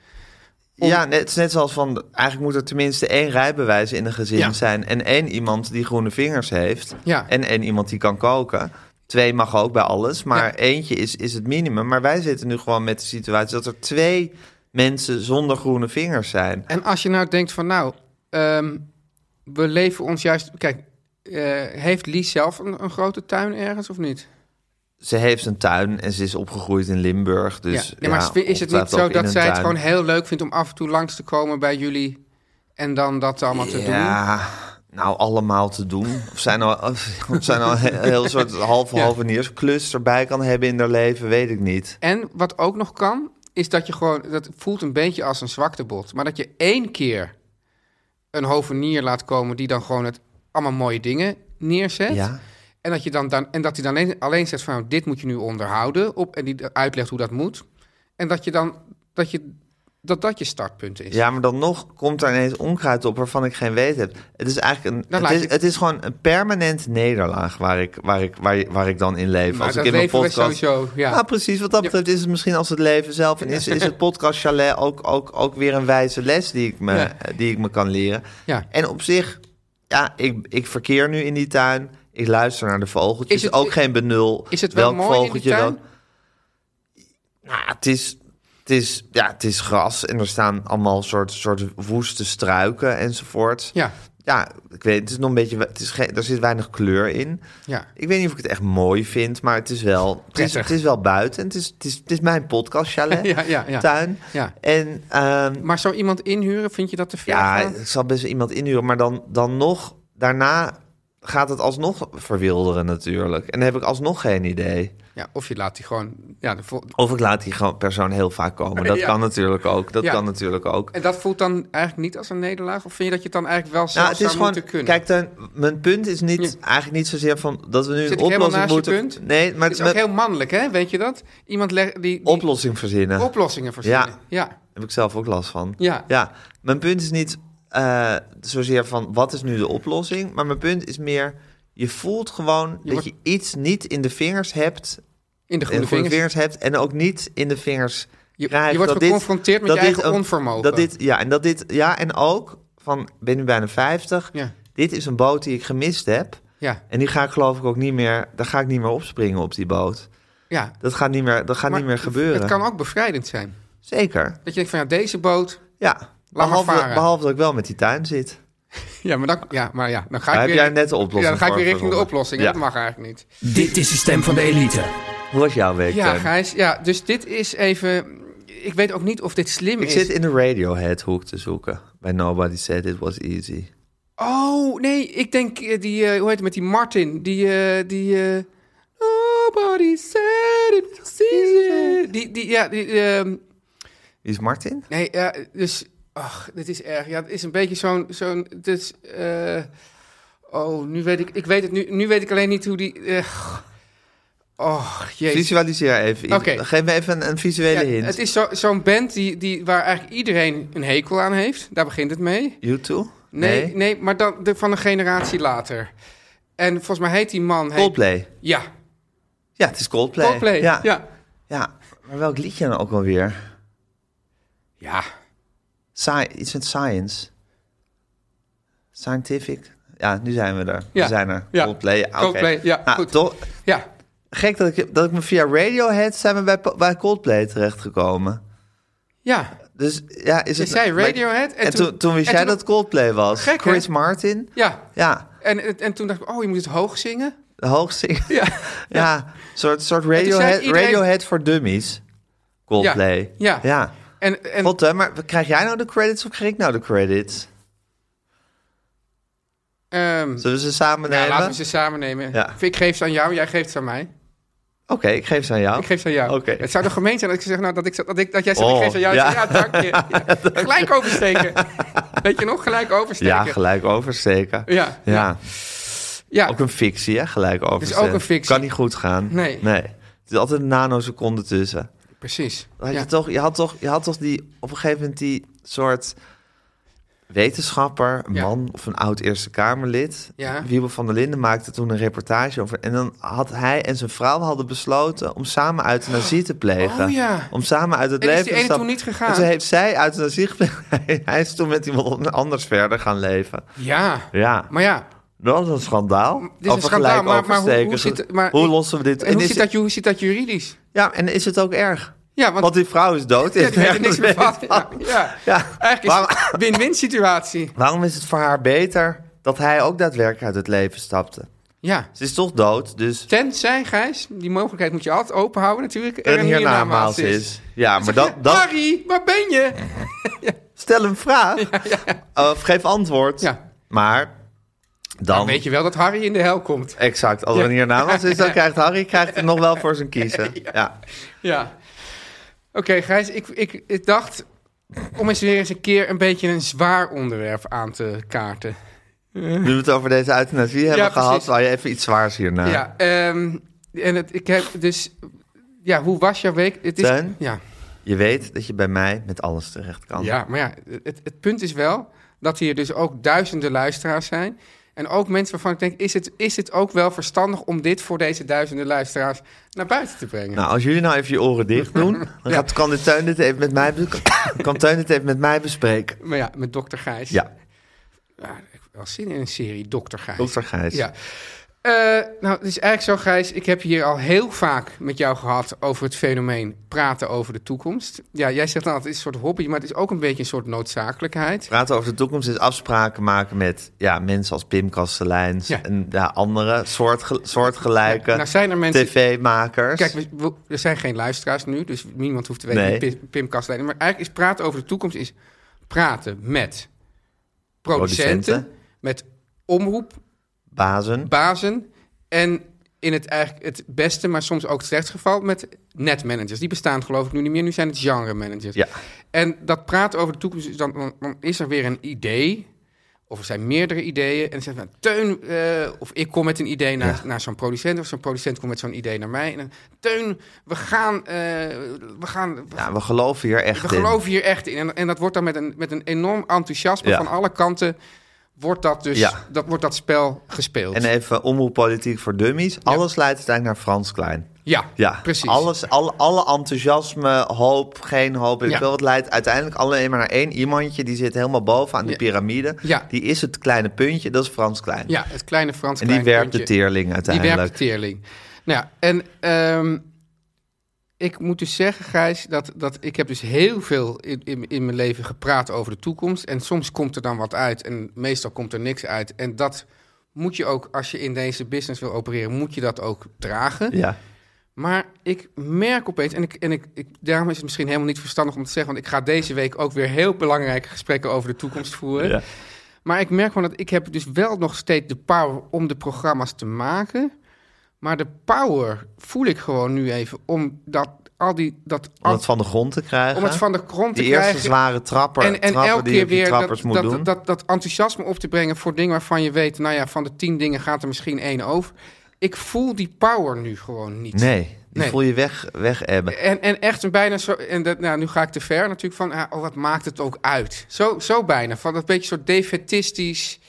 [SPEAKER 2] Om-
[SPEAKER 1] Ja, net, het is net zoals van, eigenlijk moet er tenminste één rijbewijs in een gezin
[SPEAKER 2] Ja.
[SPEAKER 1] zijn. En één iemand die groene vingers heeft.
[SPEAKER 2] Ja.
[SPEAKER 1] En één iemand die kan koken. Twee mag ook bij alles, maar
[SPEAKER 2] Ja.
[SPEAKER 1] eentje is, is het minimum. Maar wij zitten nu gewoon met de situatie dat er twee mensen zonder groene vingers zijn.
[SPEAKER 2] En als je nou denkt van nou, ehm, we leven ons juist... Kijk, eh, heeft Lies zelf een, een grote tuin ergens of niet?
[SPEAKER 1] Ze heeft een tuin en ze is opgegroeid in Limburg. Dus
[SPEAKER 2] ja. Nee, maar is- is het niet
[SPEAKER 1] ongetwijfeld
[SPEAKER 2] zo
[SPEAKER 1] ook in
[SPEAKER 2] dat
[SPEAKER 1] een
[SPEAKER 2] zij het
[SPEAKER 1] tuin.
[SPEAKER 2] gewoon heel leuk vindt om af en toe langs te komen bij jullie? En dan dat allemaal te doen.
[SPEAKER 1] ja, nou allemaal te doen. Of zijn nou, of zij nou een heel soort half
[SPEAKER 2] Ja.
[SPEAKER 1] halveniersklus klus erbij kan hebben in haar leven, weet ik niet.
[SPEAKER 2] En wat ook nog kan, is dat je gewoon... Dat voelt een beetje als een zwaktebod. Maar dat je één keer een hovenier laat komen... die dan gewoon het, allemaal mooie dingen neerzet.
[SPEAKER 1] Ja.
[SPEAKER 2] En dat, je dan, dan, en dat hij dan alleen, alleen zegt van... nou, dit moet je nu onderhouden. Op, en die uitlegt hoe dat moet. En dat je dan... Dat je, dat, dat je startpunt is.
[SPEAKER 1] Ja, maar dan nog komt daar ineens onkruid op waarvan ik geen weet heb. Het is eigenlijk een, het,
[SPEAKER 2] Dat laat
[SPEAKER 1] is,
[SPEAKER 2] ik-
[SPEAKER 1] het is gewoon een permanente nederlaag waar ik, waar ik, waar, waar ik dan in leef.
[SPEAKER 2] Maar
[SPEAKER 1] als ik
[SPEAKER 2] dat
[SPEAKER 1] in mijn
[SPEAKER 2] leven we
[SPEAKER 1] podcast.
[SPEAKER 2] sowieso, ja.
[SPEAKER 1] Nou, precies. Wat dat betreft is het misschien als het leven zelf. En is, is het podcast chalet ook, ook, ook weer een wijze les die ik me,
[SPEAKER 2] Ja.
[SPEAKER 1] eh, die ik me kan leren.
[SPEAKER 2] Ja.
[SPEAKER 1] En op zich, ja, ik, ik verkeer nu in die tuin. Ik luister naar de vogeltjes.
[SPEAKER 2] Is het-
[SPEAKER 1] ook geen benul.
[SPEAKER 2] Is het
[SPEAKER 1] welk
[SPEAKER 2] wel mooi in die
[SPEAKER 1] vogeltje
[SPEAKER 2] tuin?
[SPEAKER 1] dan. Nou, het is, het is, ja, het is gras en er staan allemaal soort, soort woeste struiken enzovoort.
[SPEAKER 2] Ja.
[SPEAKER 1] Ja, ik weet, het is nog een beetje, het is geen, er zit weinig kleur in.
[SPEAKER 2] Ja.
[SPEAKER 1] Ik weet niet of ik het echt mooi vind, maar het is wel, het is,
[SPEAKER 2] Prettig.
[SPEAKER 1] het is wel buiten. Het is, het is, het is mijn podcast, chalet,
[SPEAKER 2] Ja, ja, ja.
[SPEAKER 1] tuin.
[SPEAKER 2] Ja.
[SPEAKER 1] En ehm,
[SPEAKER 2] Maar zo iemand inhuren, vind je dat te ver
[SPEAKER 1] ja, eh,
[SPEAKER 2] gaan?
[SPEAKER 1] ik zal best wel iemand inhuren, maar dan, dan nog, daarna gaat het alsnog verwilderen natuurlijk. En dan heb ik alsnog geen idee.
[SPEAKER 2] Ja, of je laat die gewoon... Ja, de vol-
[SPEAKER 1] Of ik laat die gewoon- persoon heel vaak komen. Dat
[SPEAKER 2] Ja.
[SPEAKER 1] kan natuurlijk ook. Dat
[SPEAKER 2] Ja.
[SPEAKER 1] kan natuurlijk ook.
[SPEAKER 2] en dat voelt dan eigenlijk niet als een nederlaag? Of vind je dat je het dan eigenlijk wel zelf
[SPEAKER 1] Nou, het
[SPEAKER 2] zou
[SPEAKER 1] is gewoon.
[SPEAKER 2] moeten kunnen?
[SPEAKER 1] Kijk, Teun, mijn punt is niet,
[SPEAKER 2] Ja.
[SPEAKER 1] eigenlijk niet zozeer van dat we nu
[SPEAKER 2] Zit
[SPEAKER 1] een
[SPEAKER 2] ik helemaal
[SPEAKER 1] oplossing
[SPEAKER 2] naast
[SPEAKER 1] moeten.
[SPEAKER 2] je punt?
[SPEAKER 1] Nee, maar
[SPEAKER 2] het is
[SPEAKER 1] met
[SPEAKER 2] ook heel mannelijk, hè? Weet je dat? Iemand leg- die, die
[SPEAKER 1] oplossing verzinnen.
[SPEAKER 2] oplossingen verzinnen.
[SPEAKER 1] Ja.
[SPEAKER 2] Ja. ja.
[SPEAKER 1] Heb ik zelf ook last van.
[SPEAKER 2] Ja.
[SPEAKER 1] ja. Mijn punt is niet eh, zozeer van wat is nu de oplossing. Maar mijn punt is meer. Je voelt gewoon dat
[SPEAKER 2] wordt-
[SPEAKER 1] je iets niet in de vingers hebt.
[SPEAKER 2] In de
[SPEAKER 1] In
[SPEAKER 2] groene
[SPEAKER 1] de vingers.
[SPEAKER 2] vingers.
[SPEAKER 1] vingers hebt. En ook niet in de vingers.
[SPEAKER 2] Je-
[SPEAKER 1] krijgt,
[SPEAKER 2] je wordt
[SPEAKER 1] dat dit-
[SPEAKER 2] geconfronteerd met
[SPEAKER 1] dat
[SPEAKER 2] je
[SPEAKER 1] dit
[SPEAKER 2] eigen
[SPEAKER 1] een-
[SPEAKER 2] onvermogen.
[SPEAKER 1] Dat dit, ja, en dat dit. Ja, en ook van. Ben nu bijna 50.
[SPEAKER 2] Ja.
[SPEAKER 1] Dit is een boot die ik gemist heb.
[SPEAKER 2] Ja.
[SPEAKER 1] En die ga ik geloof ik ook niet meer. Daar ga ik niet meer opspringen op die boot.
[SPEAKER 2] ja.
[SPEAKER 1] Dat gaat niet meer, dat gaat
[SPEAKER 2] Maar
[SPEAKER 1] niet meer gebeuren.
[SPEAKER 2] Het kan ook bevrijdend zijn.
[SPEAKER 1] Zeker.
[SPEAKER 2] Dat je denkt van, ja, deze boot...
[SPEAKER 1] Ja.
[SPEAKER 2] maar
[SPEAKER 1] Behalve,
[SPEAKER 2] varen.
[SPEAKER 1] behalve dat ik wel met die tuin zit.
[SPEAKER 2] Ja, maar dan, ja, maar ja, dan ga
[SPEAKER 1] Maar
[SPEAKER 2] ik
[SPEAKER 1] heb
[SPEAKER 2] weer...
[SPEAKER 1] jij net de oplossing
[SPEAKER 2] Ja, dan ga ik
[SPEAKER 1] voor
[SPEAKER 2] weer richting de
[SPEAKER 1] verzonnen?
[SPEAKER 2] oplossing.
[SPEAKER 1] Ja.
[SPEAKER 2] Dat mag eigenlijk niet.
[SPEAKER 5] Dit is de stem van de elite.
[SPEAKER 1] Hoe was jouw week?
[SPEAKER 2] Ja,
[SPEAKER 1] Teun?
[SPEAKER 2] Gijs. Ja, dus dit is even... Ik weet ook niet of dit slim
[SPEAKER 1] Ik
[SPEAKER 2] is.
[SPEAKER 1] zit in de Radiohead hoek te zoeken. Bij Nobody Said It Was Easy.
[SPEAKER 2] Oh, nee, ik denk eh, die, eh, hoe heet het met die Martin? Die, eh, die, eh, nobody said it was easy. Die, die, ja, die, ehm,
[SPEAKER 1] Wie is Martin?
[SPEAKER 2] nee, ja, dus, ach, dit is erg. Ja, het is een beetje zo'n, zo'n, het is, eh, oh, nu weet ik, ik weet het nu, nu weet ik alleen niet hoe die, eh, oh, jezus.
[SPEAKER 1] Visualiseer even. iets.
[SPEAKER 2] Oké.
[SPEAKER 1] Geef me even een, een visuele
[SPEAKER 2] Ja,
[SPEAKER 1] hint.
[SPEAKER 2] het is zo- zo'n band die, die, waar eigenlijk iedereen een hekel aan heeft. Daar begint het mee.
[SPEAKER 1] You too?
[SPEAKER 2] Nee, nee, maar dan de, van een generatie later. En volgens mij heet die man... heet-
[SPEAKER 1] Coldplay.
[SPEAKER 2] Ja,
[SPEAKER 1] Ja, het is Coldplay.
[SPEAKER 2] Coldplay.
[SPEAKER 1] Ja.
[SPEAKER 2] Ja. ja.
[SPEAKER 1] Ja. Maar welk liedje dan ook alweer? Sci iets met science. Scientific. Ja, nu zijn we er.
[SPEAKER 2] Ja.
[SPEAKER 1] We zijn er.
[SPEAKER 2] Ja.
[SPEAKER 1] Coldplay. Ja, oké.
[SPEAKER 2] Coldplay, ja,
[SPEAKER 1] Nou,
[SPEAKER 2] goed.
[SPEAKER 1] toch-
[SPEAKER 2] Ja.
[SPEAKER 1] gek dat ik, dat ik me via Radiohead zijn we bij, bij Coldplay terechtgekomen.
[SPEAKER 2] Ja.
[SPEAKER 1] Dus ja, is
[SPEAKER 2] Je
[SPEAKER 1] het...
[SPEAKER 2] zei
[SPEAKER 1] maar-
[SPEAKER 2] Radiohead
[SPEAKER 1] En, toen, toen wist
[SPEAKER 2] en
[SPEAKER 1] jij
[SPEAKER 2] toen-
[SPEAKER 1] dat Coldplay was.
[SPEAKER 2] Gek, hè?
[SPEAKER 1] Chris Martin.
[SPEAKER 2] Ja.
[SPEAKER 1] Ja,
[SPEAKER 2] En, en, en toen dacht ik, oh, je moet het hoog zingen.
[SPEAKER 1] de hoogste. Ja, soort, soort
[SPEAKER 2] toen zei
[SPEAKER 1] Radiohead,
[SPEAKER 2] iedereen-
[SPEAKER 1] Radiohead voor dummies. Coldplay.
[SPEAKER 2] Ja, ja.
[SPEAKER 1] ja.
[SPEAKER 2] En, en
[SPEAKER 1] Wat, hè, maar krijg jij nou de credits of krijg ik nou de credits?
[SPEAKER 2] ehm,
[SPEAKER 1] Zullen we ze samen
[SPEAKER 2] ja,
[SPEAKER 1] nemen?
[SPEAKER 2] laten we ze samen nemen.
[SPEAKER 1] Ja.
[SPEAKER 2] Ik geef ze aan jou, jij geeft ze aan mij.
[SPEAKER 1] Oké, ik geef ze aan jou.
[SPEAKER 2] Ik geef ze aan jou.
[SPEAKER 1] Oh. Oké.
[SPEAKER 2] Het zou toch gemeen zijn dat ik zeg, nou, dat, ik, dat, ik, dat jij zegt,
[SPEAKER 1] Oh,
[SPEAKER 2] ik geef ze aan jou.
[SPEAKER 1] ja.
[SPEAKER 2] Ja, ja dank je. Ja. Gelijk oversteken. Weet je nog, gelijk oversteken.
[SPEAKER 1] Ja, gelijk oversteken.
[SPEAKER 2] Ja.
[SPEAKER 1] ja.
[SPEAKER 2] Ja.
[SPEAKER 1] Ook een fictie, hè? Gelijk over.
[SPEAKER 2] is ook een fictie.
[SPEAKER 1] Kan niet goed gaan.
[SPEAKER 2] Nee.
[SPEAKER 1] nee. Het is altijd een nanoseconde tussen.
[SPEAKER 2] precies.
[SPEAKER 1] Dan Had je,
[SPEAKER 2] Ja.
[SPEAKER 1] toch, je, had toch, je had toch die, op een gegeven moment die soort wetenschapper, een
[SPEAKER 2] Ja.
[SPEAKER 1] man of een oud Eerste Kamerlid.
[SPEAKER 2] Ja.
[SPEAKER 1] Wiebel van der Linden maakte toen een reportage over. En dan had hij en zijn vrouw hadden besloten om samen euthanasie te plegen.
[SPEAKER 2] Oh ja.
[SPEAKER 1] Om samen uit het
[SPEAKER 2] En is die
[SPEAKER 1] leven
[SPEAKER 2] ene
[SPEAKER 1] te stappen.
[SPEAKER 2] toen niet gegaan?
[SPEAKER 1] En toen heeft zij euthanasie gepleegd. hij is toen met iemand anders verder gaan leven.
[SPEAKER 2] ja.
[SPEAKER 1] Ja.
[SPEAKER 2] Maar ja,
[SPEAKER 1] Dat is een schandaal.
[SPEAKER 2] Dit is een
[SPEAKER 1] Over
[SPEAKER 2] schandaal,
[SPEAKER 1] gelijk
[SPEAKER 2] maar- maar hoe-
[SPEAKER 1] oversteken.
[SPEAKER 2] hoe zit het- maar-
[SPEAKER 1] Hoe lossen we dit?
[SPEAKER 2] en hoe
[SPEAKER 1] is
[SPEAKER 2] zit, dat, ju- hoe zit dat juridisch?
[SPEAKER 1] Ja, en is het ook erg?
[SPEAKER 2] Ja, want-
[SPEAKER 1] die vrouw is dood.
[SPEAKER 2] Ja, daar heb je niks meer van. Ja, ja.
[SPEAKER 1] Ja.
[SPEAKER 2] Eigenlijk is
[SPEAKER 1] Waarom-
[SPEAKER 2] het een win-win situatie.
[SPEAKER 1] Waarom is het voor haar beter dat hij ook daadwerkelijk uit het leven stapte?
[SPEAKER 2] Ja.
[SPEAKER 1] Ze is toch dood, dus
[SPEAKER 2] Tenzij, Gijs, die mogelijkheid moet je altijd open houden natuurlijk.
[SPEAKER 1] een hiernamaals is. Ja, maar
[SPEAKER 2] Dan,
[SPEAKER 1] dat, dat,
[SPEAKER 2] Nou, Harry, waar ben je?
[SPEAKER 1] Stel een vraag. Of geef antwoord.
[SPEAKER 2] Ja.
[SPEAKER 1] Maar dan...
[SPEAKER 2] Dan weet je wel dat Harry in de hel komt.
[SPEAKER 1] Exact. Als er een hiernamaals is, dan krijgt Harry krijgt het nog wel voor zijn kiezen. Ja.
[SPEAKER 2] Ja. Oké, Gijs, ik, ik, ik dacht om eens weer eens een keer een beetje een zwaar onderwerp aan te kaarten.
[SPEAKER 1] Nu we het over deze euthanasie hebben
[SPEAKER 2] Ja,
[SPEAKER 1] gehad,
[SPEAKER 2] precies.
[SPEAKER 1] zou je even iets zwaars hierna.
[SPEAKER 2] Ja, ehm, en het, ik heb dus... Ja, hoe was jouw week? Het is,
[SPEAKER 1] Teun?
[SPEAKER 2] Ja,
[SPEAKER 1] Je weet dat je bij mij met alles terecht kan.
[SPEAKER 2] ja, maar ja, het, het punt is wel dat hier dus ook duizenden luisteraars zijn. En ook mensen waarvan ik denk, is het, is het ook wel verstandig om dit voor deze duizenden luisteraars naar buiten te brengen?
[SPEAKER 1] Nou, als jullie nou even je oren dicht doen, dan gaat, kan, de Teun dit even met mij, be- kan Teun dit even met mij bespreken.
[SPEAKER 2] Maar ja, met dokter Gijs.
[SPEAKER 1] Ja,
[SPEAKER 2] Ja, ik heb wel zin in een serie, dokter Gijs.
[SPEAKER 1] dokter Gijs.
[SPEAKER 2] Ja. Eh, nou, het is eigenlijk zo, Gijs. Ik heb hier al heel vaak met jou gehad over het fenomeen praten over de toekomst. Ja, jij zegt dan dat het is een soort hobby, maar het is ook een beetje een soort noodzakelijkheid.
[SPEAKER 1] Praten over de toekomst is afspraken maken met ja, mensen als Pim Kasteleins
[SPEAKER 2] Ja.
[SPEAKER 1] en ja, andere soortge- soortgelijke
[SPEAKER 2] Ja, nou zijn er mensen-
[SPEAKER 1] tv-makers.
[SPEAKER 2] Kijk, we, we- er zijn geen luisteraars nu, dus niemand hoeft te weten
[SPEAKER 1] Nee.
[SPEAKER 2] wie Pim, Pim Kastelein is. Maar eigenlijk is praten over de toekomst is praten met producenten,
[SPEAKER 1] Producenten.
[SPEAKER 2] met omroepbazen
[SPEAKER 1] Bazen.
[SPEAKER 2] en in het, eigenlijk het beste, maar soms ook slecht geval, met netmanagers. Die bestaan geloof ik nu niet meer, nu zijn het genre managers.
[SPEAKER 1] Ja.
[SPEAKER 2] En dat praten over de toekomst, dus dan, dan, dan is er weer een idee. Of er zijn meerdere ideeën. En dan zegt nou, Teun, eh, of ik kom met een idee naar, naar zo'n producent. Of zo'n producent komt met zo'n idee naar mij. En dan, Teun, we gaan, eh, we gaan, we,
[SPEAKER 1] Ja, we geloven hier echt
[SPEAKER 2] we
[SPEAKER 1] in.
[SPEAKER 2] geloven hier echt in. En, en dat wordt dan met een, met een enorm enthousiasme
[SPEAKER 1] Ja.
[SPEAKER 2] van alle kanten, wordt dat dus,
[SPEAKER 1] Ja.
[SPEAKER 2] dat, wordt dat spel gespeeld.
[SPEAKER 1] En even omroep politiek voor dummies. Alles leidt uiteindelijk naar Frans Klein.
[SPEAKER 2] ja,
[SPEAKER 1] Ja,
[SPEAKER 2] precies.
[SPEAKER 1] Alles, alle, alle enthusasme, hoop, geen hoop. Ik
[SPEAKER 2] Ja.
[SPEAKER 1] wil het leidt uiteindelijk alleen maar naar één iemandje. Die zit helemaal boven aan de
[SPEAKER 2] Ja.
[SPEAKER 1] piramide.
[SPEAKER 2] Ja.
[SPEAKER 1] Die is het kleine puntje, dat is Frans Klein.
[SPEAKER 2] Ja, het kleine Frans
[SPEAKER 1] en die
[SPEAKER 2] kleine
[SPEAKER 1] werpt de
[SPEAKER 2] puntje.
[SPEAKER 1] teerling
[SPEAKER 2] Die
[SPEAKER 1] uiteindelijk.
[SPEAKER 2] werpt de teerling. Nou ja, en ehm, ik moet dus zeggen, Gijs, dat, dat ik heb dus heel veel in, in, in mijn leven gepraat over de toekomst. En soms komt er dan wat uit en meestal komt er niks uit. En dat moet je ook, als je in deze business wil opereren, moet je dat ook dragen.
[SPEAKER 1] Ja.
[SPEAKER 2] Maar ik merk opeens, en, ik, en ik, ik, daarom is het misschien helemaal niet verstandig om te zeggen... want ik ga deze week ook weer heel belangrijke gesprekken over de toekomst voeren.
[SPEAKER 1] Ja.
[SPEAKER 2] Maar ik merk gewoon dat ik heb dus wel nog steeds de power om de programma's te maken. Maar de power voel ik gewoon nu even om dat al die dat
[SPEAKER 1] Om
[SPEAKER 2] al-
[SPEAKER 1] het van de grond te krijgen.
[SPEAKER 2] om het van de grond te
[SPEAKER 1] die eerste
[SPEAKER 2] krijgen.
[SPEAKER 1] zware trapper,
[SPEAKER 2] en, en
[SPEAKER 1] trappen
[SPEAKER 2] elke
[SPEAKER 1] die je
[SPEAKER 2] keer
[SPEAKER 1] op die
[SPEAKER 2] weer
[SPEAKER 1] trappers
[SPEAKER 2] dat,
[SPEAKER 1] moet
[SPEAKER 2] dat,
[SPEAKER 1] doen.
[SPEAKER 2] dat, dat, enthousiasme op te brengen voor dingen waarvan je weet, nou ja, van de tien dingen gaat er misschien één over. Ik voel die power nu gewoon niet.
[SPEAKER 1] nee, die
[SPEAKER 2] Nee.
[SPEAKER 1] voel je weg, weg ebben.
[SPEAKER 2] En, en echt een bijna zo. En dat, nou, nu ga ik te ver natuurlijk van. ah, oh, wat maakt het ook uit? Zo, zo bijna. Van dat beetje soort defetistisch,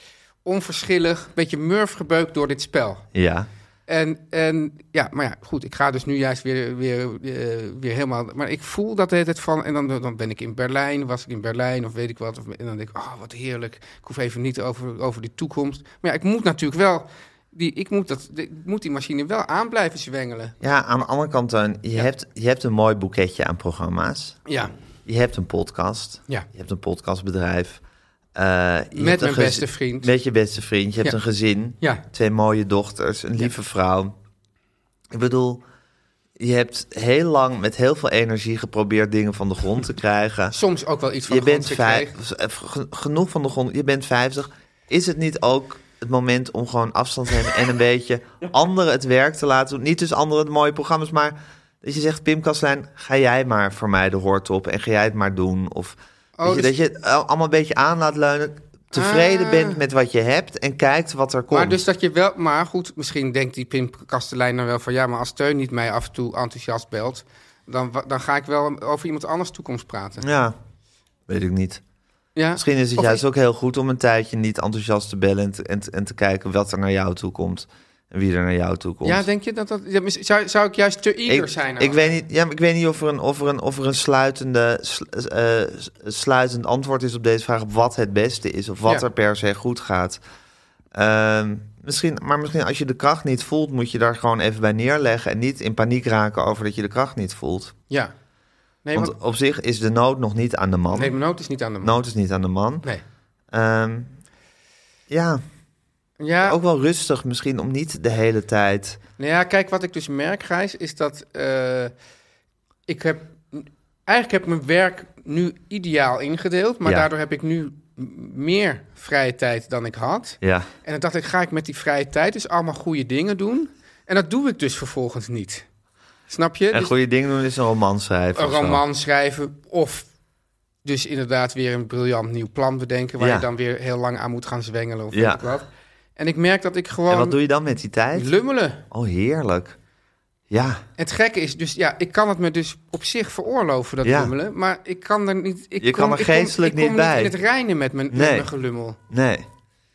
[SPEAKER 2] onverschillig, beetje murf gebeukt door dit spel.
[SPEAKER 1] Ja.
[SPEAKER 2] En, en ja, maar ja, goed. Ik ga dus nu juist weer, weer, eh, weer helemaal. Maar ik voel dat de hele tijd van. En dan, dan ben ik in Berlijn, was ik in Berlijn of weet ik wat. Of, en dan denk ik, oh, wat heerlijk. Ik hoef even niet over, over die toekomst. Maar ja, ik moet natuurlijk wel. Die, ik, moet dat, ik moet die machine wel aan blijven zwengelen.
[SPEAKER 1] ja, aan de andere kant,
[SPEAKER 2] eh,
[SPEAKER 1] Teun, je, hebt, je hebt een mooi boeketje aan programma's.
[SPEAKER 2] Ja.
[SPEAKER 1] Je hebt een podcast.
[SPEAKER 2] Ja.
[SPEAKER 1] Je hebt een podcastbedrijf. Eh, je hebt een
[SPEAKER 2] mijn
[SPEAKER 1] gez-
[SPEAKER 2] beste vriend.
[SPEAKER 1] Met je beste vriend. Je hebt
[SPEAKER 2] Ja.
[SPEAKER 1] een gezin.
[SPEAKER 2] Ja.
[SPEAKER 1] Twee mooie dochters. Een lieve vrouw. Ik bedoel, je hebt heel lang met heel veel energie geprobeerd dingen van de grond te krijgen.
[SPEAKER 2] Soms ook wel iets van
[SPEAKER 1] je
[SPEAKER 2] de grond
[SPEAKER 1] bent
[SPEAKER 2] gekregen.
[SPEAKER 1] vijf, g- genoeg van de grond. Je bent 50. Is het niet ook het moment om gewoon afstand te nemen en een beetje anderen het werk te laten doen? Niet dus anderen het mooie programma's, maar dat je zegt: Pim Kastlijn, ga jij maar voor mij de hoort op en ga jij het maar doen? Of
[SPEAKER 2] Oh,
[SPEAKER 1] weet je,
[SPEAKER 2] dus-
[SPEAKER 1] dat
[SPEAKER 2] Ah.
[SPEAKER 1] je het al- allemaal een beetje aan laat leunen, tevreden bent met wat je hebt en kijkt wat er komt.
[SPEAKER 2] Maar dus dat je wel, maar goed, misschien denkt die Pim Kastelein dan wel van ja, maar als Teun niet mij af en toe enthousiast belt, dan, wa- dan ga ik wel over iemand anders toekomst praten.
[SPEAKER 1] Ja, weet ik niet.
[SPEAKER 2] Ja?
[SPEAKER 1] Misschien is het
[SPEAKER 2] Of-
[SPEAKER 1] juist ook heel goed om een tijdje niet enthousiast te bellen en te, en, te- en te kijken wat er naar jou toe komt en wie er naar jou toe komt.
[SPEAKER 2] Ja, denk je dat dat. ja, mis- zou, zou ik juist te eager
[SPEAKER 1] ik,
[SPEAKER 2] zijn?
[SPEAKER 1] Ik weet niet, ja, maar ik weet niet of er een, of er een, of er een sluitende, sl- eh, s- sluitend antwoord is op deze vraag. Op wat het beste is. Of wat
[SPEAKER 2] Ja.
[SPEAKER 1] er per se goed gaat. Ehm, misschien, maar misschien als je de kracht niet voelt, moet je daar gewoon even bij neerleggen. En niet in paniek raken over dat je de kracht niet voelt.
[SPEAKER 2] Ja. Nee, want,
[SPEAKER 1] Want op zich is de nood nog niet aan de man.
[SPEAKER 2] nee, mijn noot is niet aan de man.
[SPEAKER 1] nood is niet aan de man.
[SPEAKER 2] Nee.
[SPEAKER 1] Ehm, ja,
[SPEAKER 2] Ja,
[SPEAKER 1] ook wel rustig misschien om niet de hele tijd.
[SPEAKER 2] Nou ja, kijk, wat ik dus merk, Gijs, is dat eh, ik heb eigenlijk heb ik mijn werk nu ideaal ingedeeld, maar
[SPEAKER 1] Ja.
[SPEAKER 2] daardoor heb ik nu m- meer vrije tijd dan ik had.
[SPEAKER 1] Ja.
[SPEAKER 2] En dan dacht ik, ga ik met die vrije tijd dus allemaal goede dingen doen? En dat doe ik dus vervolgens niet. Snap je?
[SPEAKER 1] En
[SPEAKER 2] Dus
[SPEAKER 1] goede dingen doen is een roman schrijven.
[SPEAKER 2] een
[SPEAKER 1] of zo.
[SPEAKER 2] roman schrijven of dus inderdaad weer een briljant nieuw plan bedenken... waar
[SPEAKER 1] Ja.
[SPEAKER 2] je dan weer heel lang aan moet gaan zwengelen of
[SPEAKER 1] Ja.
[SPEAKER 2] weet ik wat. En ik merk dat ik
[SPEAKER 1] En wat
[SPEAKER 2] gewoon
[SPEAKER 1] doe je dan met die tijd?
[SPEAKER 2] lummelen.
[SPEAKER 1] Oh, heerlijk. Ja,
[SPEAKER 2] Het gekke is, dus ja, ik kan het me dus op zich veroorloven, dat
[SPEAKER 1] Ja.
[SPEAKER 2] lummelen. Maar ik kan er niet... Ik
[SPEAKER 1] Je
[SPEAKER 2] kom,
[SPEAKER 1] kan er
[SPEAKER 2] ik kom-
[SPEAKER 1] geestelijk
[SPEAKER 2] ik kom
[SPEAKER 1] niet bij.
[SPEAKER 2] in het reinen met mijn, met
[SPEAKER 1] Nee.
[SPEAKER 2] mijn gelummel.
[SPEAKER 1] nee.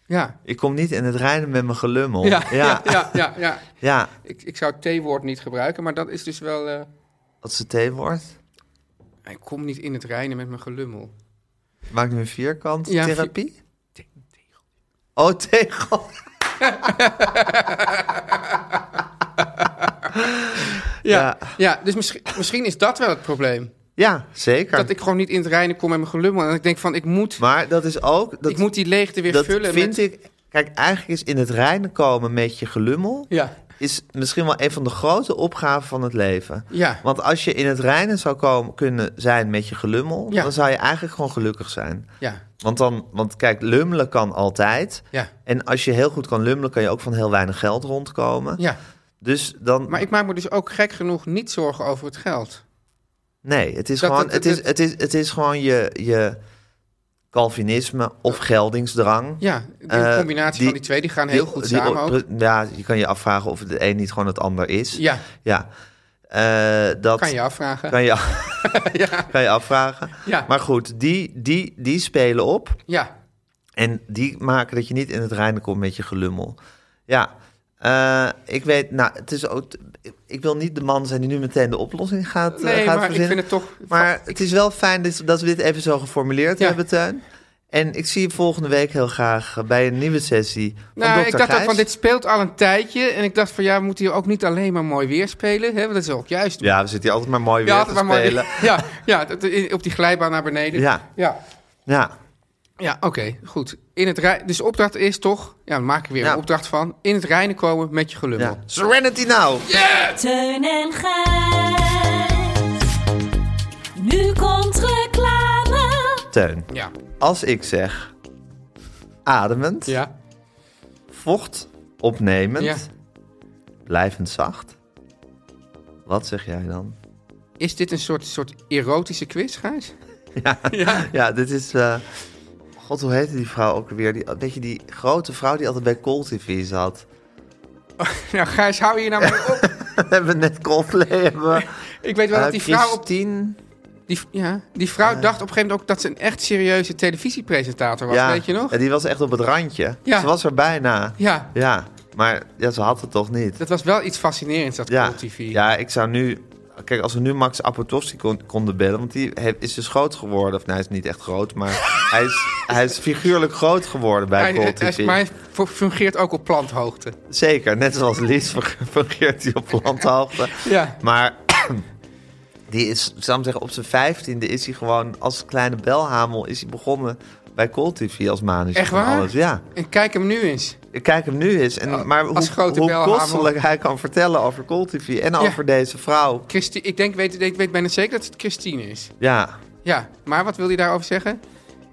[SPEAKER 2] Ja.
[SPEAKER 1] Ik kom niet in het rijden met mijn gelummel.
[SPEAKER 2] Ja, ja,
[SPEAKER 1] ja.
[SPEAKER 2] ja, ja, ja.
[SPEAKER 1] Ja.
[SPEAKER 2] Ik, ik zou het T-woord niet gebruiken, maar dat is dus wel... eh,
[SPEAKER 1] Wat is het theewoord?
[SPEAKER 2] Ik kom niet in het reinen met mijn gelummel.
[SPEAKER 1] Maak nu een vierkant
[SPEAKER 2] Ja,
[SPEAKER 1] therapie? Oh, tegel.
[SPEAKER 2] Ja,
[SPEAKER 1] Ja.
[SPEAKER 2] ja. dus misschien, misschien is dat wel het probleem.
[SPEAKER 1] Ja, zeker.
[SPEAKER 2] Dat ik gewoon niet in het reinen kom met mijn gelummel. En ik denk van, ik moet,
[SPEAKER 1] Maar dat is ook... Dat,
[SPEAKER 2] ik moet die leegte weer
[SPEAKER 1] dat
[SPEAKER 2] vullen
[SPEAKER 1] vind
[SPEAKER 2] met...
[SPEAKER 1] ik... Kijk, eigenlijk is in het reinen komen met je gelummel...
[SPEAKER 2] Ja,
[SPEAKER 1] is misschien wel een van de grote opgaven van het leven.
[SPEAKER 2] ja.
[SPEAKER 1] Want als je in het reinen zou komen, kunnen zijn met je gelummel...
[SPEAKER 2] Ja.
[SPEAKER 1] dan zou je eigenlijk gewoon gelukkig zijn.
[SPEAKER 2] ja,
[SPEAKER 1] Want, dan, want kijk, lummelen kan altijd.
[SPEAKER 2] ja,
[SPEAKER 1] En als je heel goed kan lummelen, kan je ook van heel weinig geld rondkomen.
[SPEAKER 2] ja.
[SPEAKER 1] Dus dan...
[SPEAKER 2] Maar ik maak me dus ook gek genoeg niet zorgen over het geld.
[SPEAKER 1] Nee, het is
[SPEAKER 2] Dat
[SPEAKER 1] gewoon,
[SPEAKER 2] het-
[SPEAKER 1] het,
[SPEAKER 2] het-
[SPEAKER 1] is, het, is, het is gewoon je, je Calvinisme of geldingsdrang.
[SPEAKER 2] Ja, die
[SPEAKER 1] Eh,
[SPEAKER 2] combinatie van die twee, die gaan heel
[SPEAKER 1] die-
[SPEAKER 2] goed
[SPEAKER 1] die-
[SPEAKER 2] samen ook.
[SPEAKER 1] Ja, je kan je afvragen of het een niet gewoon het ander is.
[SPEAKER 2] Ja,
[SPEAKER 1] Ja. Eh, dat
[SPEAKER 2] kan je afvragen.
[SPEAKER 1] kan je, kan je afvragen.
[SPEAKER 2] Ja.
[SPEAKER 1] Maar goed, die, die, die spelen op.
[SPEAKER 2] Ja,
[SPEAKER 1] En die maken dat je niet in het reinen komt met je gelummel. Ja, eh, ik weet, nou, het is ook. Ik wil niet de man zijn die nu meteen de oplossing gaat, eh,
[SPEAKER 2] nee,
[SPEAKER 1] gaat
[SPEAKER 2] maar ik
[SPEAKER 1] verzinnen.
[SPEAKER 2] vind het toch...
[SPEAKER 1] Maar het is wel fijn dus dat we dit even zo geformuleerd
[SPEAKER 2] Ja.
[SPEAKER 1] hebben, Teun. En ik zie je volgende week heel graag eh, bij een nieuwe sessie van
[SPEAKER 2] Nou,
[SPEAKER 1] Dr.
[SPEAKER 2] ik dacht ook
[SPEAKER 1] Gijs.
[SPEAKER 2] van, dit speelt al een tijdje. En ik dacht van, ja, we moeten hier ook niet alleen maar mooi weer spelen. Hè? Want dat is ook juist.
[SPEAKER 1] Ja, we zitten hier altijd maar mooi weer
[SPEAKER 2] Ja,
[SPEAKER 1] te
[SPEAKER 2] altijd maar mooi.
[SPEAKER 1] spelen.
[SPEAKER 2] Ja, ja, dat- in- op die glijbaan naar beneden.
[SPEAKER 1] Ja.
[SPEAKER 2] Ja,
[SPEAKER 1] Ja,
[SPEAKER 2] ja oké, goed. In het rij- dus de opdracht is toch, ja, dan maak ik weer
[SPEAKER 1] Ja.
[SPEAKER 2] een opdracht van, in het reinen komen met je gelummel.
[SPEAKER 1] ja. Serenity
[SPEAKER 2] nou.
[SPEAKER 1] now!
[SPEAKER 4] Teun en Gijs. Nu komt reclame.
[SPEAKER 1] Teun,
[SPEAKER 2] Ja.
[SPEAKER 1] als ik zeg ademend,
[SPEAKER 2] Ja.
[SPEAKER 1] vocht opnemend,
[SPEAKER 2] Ja.
[SPEAKER 1] blijvend zacht. Wat zeg jij dan?
[SPEAKER 2] Is dit een soort, soort erotische quiz, Gijs?
[SPEAKER 1] Ja, dit is... eh, God, hoe heette die vrouw ook weer? Die, weet je, die grote vrouw die altijd bij Call TV zat.
[SPEAKER 2] Nou, Gijs, hou je nou maar op.
[SPEAKER 1] We hebben net Coldplay. Hebben we.
[SPEAKER 2] Ik weet wel dat die
[SPEAKER 1] Eh,
[SPEAKER 2] vrouw op...
[SPEAKER 1] Christine.
[SPEAKER 2] Die, ja, die vrouw dacht op een gegeven moment ook dat ze een echt serieuze televisiepresentator was,
[SPEAKER 1] ja,
[SPEAKER 2] weet je nog?
[SPEAKER 1] ja, die was echt op het randje.
[SPEAKER 2] Ja.
[SPEAKER 1] Ze was er bijna.
[SPEAKER 2] Ja,
[SPEAKER 1] Ja, maar ja, ze had het toch niet.
[SPEAKER 2] dat was wel iets fascinerends, dat
[SPEAKER 1] Ja.
[SPEAKER 2] Cool TV.
[SPEAKER 1] ja, ik zou nu... Kijk, als we nu Max Apotowski kon- konden bellen... want die he- is dus groot geworden. Of nou, hij is niet echt groot, maar hij, is, hij is figuurlijk groot geworden bij
[SPEAKER 2] Hij,
[SPEAKER 1] Cold
[SPEAKER 2] hij-
[SPEAKER 1] TV.
[SPEAKER 2] maar hij fu- fungeert ook op planthoogte.
[SPEAKER 1] Zeker, net zoals Lies fung- fungeert hij op landhoogte.
[SPEAKER 2] Ja.
[SPEAKER 1] Maar die is, ik zou maar zeggen, op zijn vijftiende is hij gewoon als kleine belhamel... is hij begonnen bij Cold TV als manager.
[SPEAKER 2] Echt
[SPEAKER 1] van
[SPEAKER 2] waar?
[SPEAKER 1] Alles. Ja.
[SPEAKER 2] En kijk hem nu eens.
[SPEAKER 1] Ik kijk hem nu eens. En, maar hoe,
[SPEAKER 2] als grote
[SPEAKER 1] hoe
[SPEAKER 2] belhamel.
[SPEAKER 1] kostelijk hij kan vertellen over Cold TV en over deze vrouw.
[SPEAKER 2] Christi ik denk, weet, ik weet bijna zeker dat het Christine is.
[SPEAKER 1] Ja.
[SPEAKER 2] Ja, maar wat wil je daarover zeggen?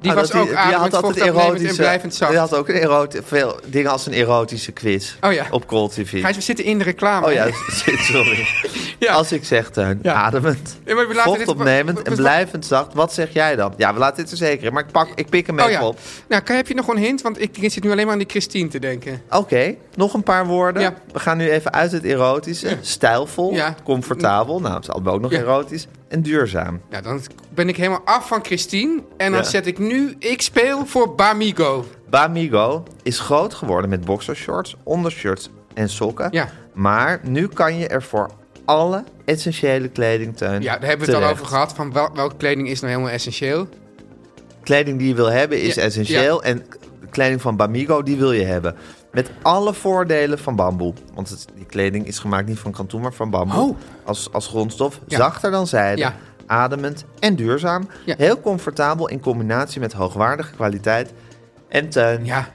[SPEAKER 2] Die
[SPEAKER 1] Ah,
[SPEAKER 2] was
[SPEAKER 1] dat
[SPEAKER 2] ook ademend, vocht opnemend en blijvend
[SPEAKER 1] Die
[SPEAKER 2] zacht.
[SPEAKER 1] had ook een erot, veel dingen als een erotische quiz
[SPEAKER 2] Oh ja.
[SPEAKER 1] op Cold TV.
[SPEAKER 2] Gijs, we zitten in de reclame.
[SPEAKER 1] Oh ja, sorry.
[SPEAKER 2] Ja.
[SPEAKER 1] Als ik zeg, Teun,
[SPEAKER 2] Ja.
[SPEAKER 1] ademend,
[SPEAKER 2] Ja, maar we laten
[SPEAKER 1] vocht
[SPEAKER 2] dit- dus
[SPEAKER 1] opnemend
[SPEAKER 2] we- we-
[SPEAKER 1] en
[SPEAKER 2] we-
[SPEAKER 1] blijvend zacht. Wat zeg jij dan? Ja, we laten dit er zeker in, maar ik, pak, ik pik hem even
[SPEAKER 2] Oh ja.
[SPEAKER 1] op.
[SPEAKER 2] Nou, kan, heb je nog een hint? Want ik zit nu alleen maar aan die Christine te denken.
[SPEAKER 1] Oké, nog een paar woorden.
[SPEAKER 2] Ja.
[SPEAKER 1] We gaan nu even uit het erotische. Stijlvol,
[SPEAKER 2] Ja.
[SPEAKER 1] comfortabel, nou, dat is allemaal ook nog
[SPEAKER 2] Ja.
[SPEAKER 1] erotisch. En duurzaam.
[SPEAKER 2] Nou, dan ben ik helemaal af van Christine. En dan
[SPEAKER 1] Ja.
[SPEAKER 2] zet ik nu, ik speel voor Bamigo.
[SPEAKER 1] Bamigo is groot geworden met boxershorts, ondershirts en sokken.
[SPEAKER 2] Ja.
[SPEAKER 1] Maar nu kan je er voor alle essentiële kleding teun.
[SPEAKER 2] Ja, daar hebben we het al
[SPEAKER 1] terecht.
[SPEAKER 2] over gehad. Van wel- welke kleding is nou helemaal essentieel?
[SPEAKER 1] Kleding die je wil hebben is
[SPEAKER 2] Ja,
[SPEAKER 1] essentieel. En de kleding van Bamigo, die wil je hebben. Met alle voordelen van bamboe. Want het- die kleding is gemaakt niet van kantoen, maar van bamboe.
[SPEAKER 2] Oh.
[SPEAKER 1] Als, als grondstof.
[SPEAKER 2] Ja.
[SPEAKER 1] Zachter dan zijde.
[SPEAKER 2] Ja.
[SPEAKER 1] Ademend en duurzaam.
[SPEAKER 2] Ja.
[SPEAKER 1] Heel comfortabel in combinatie met hoogwaardige kwaliteit. En teun,
[SPEAKER 2] Ja,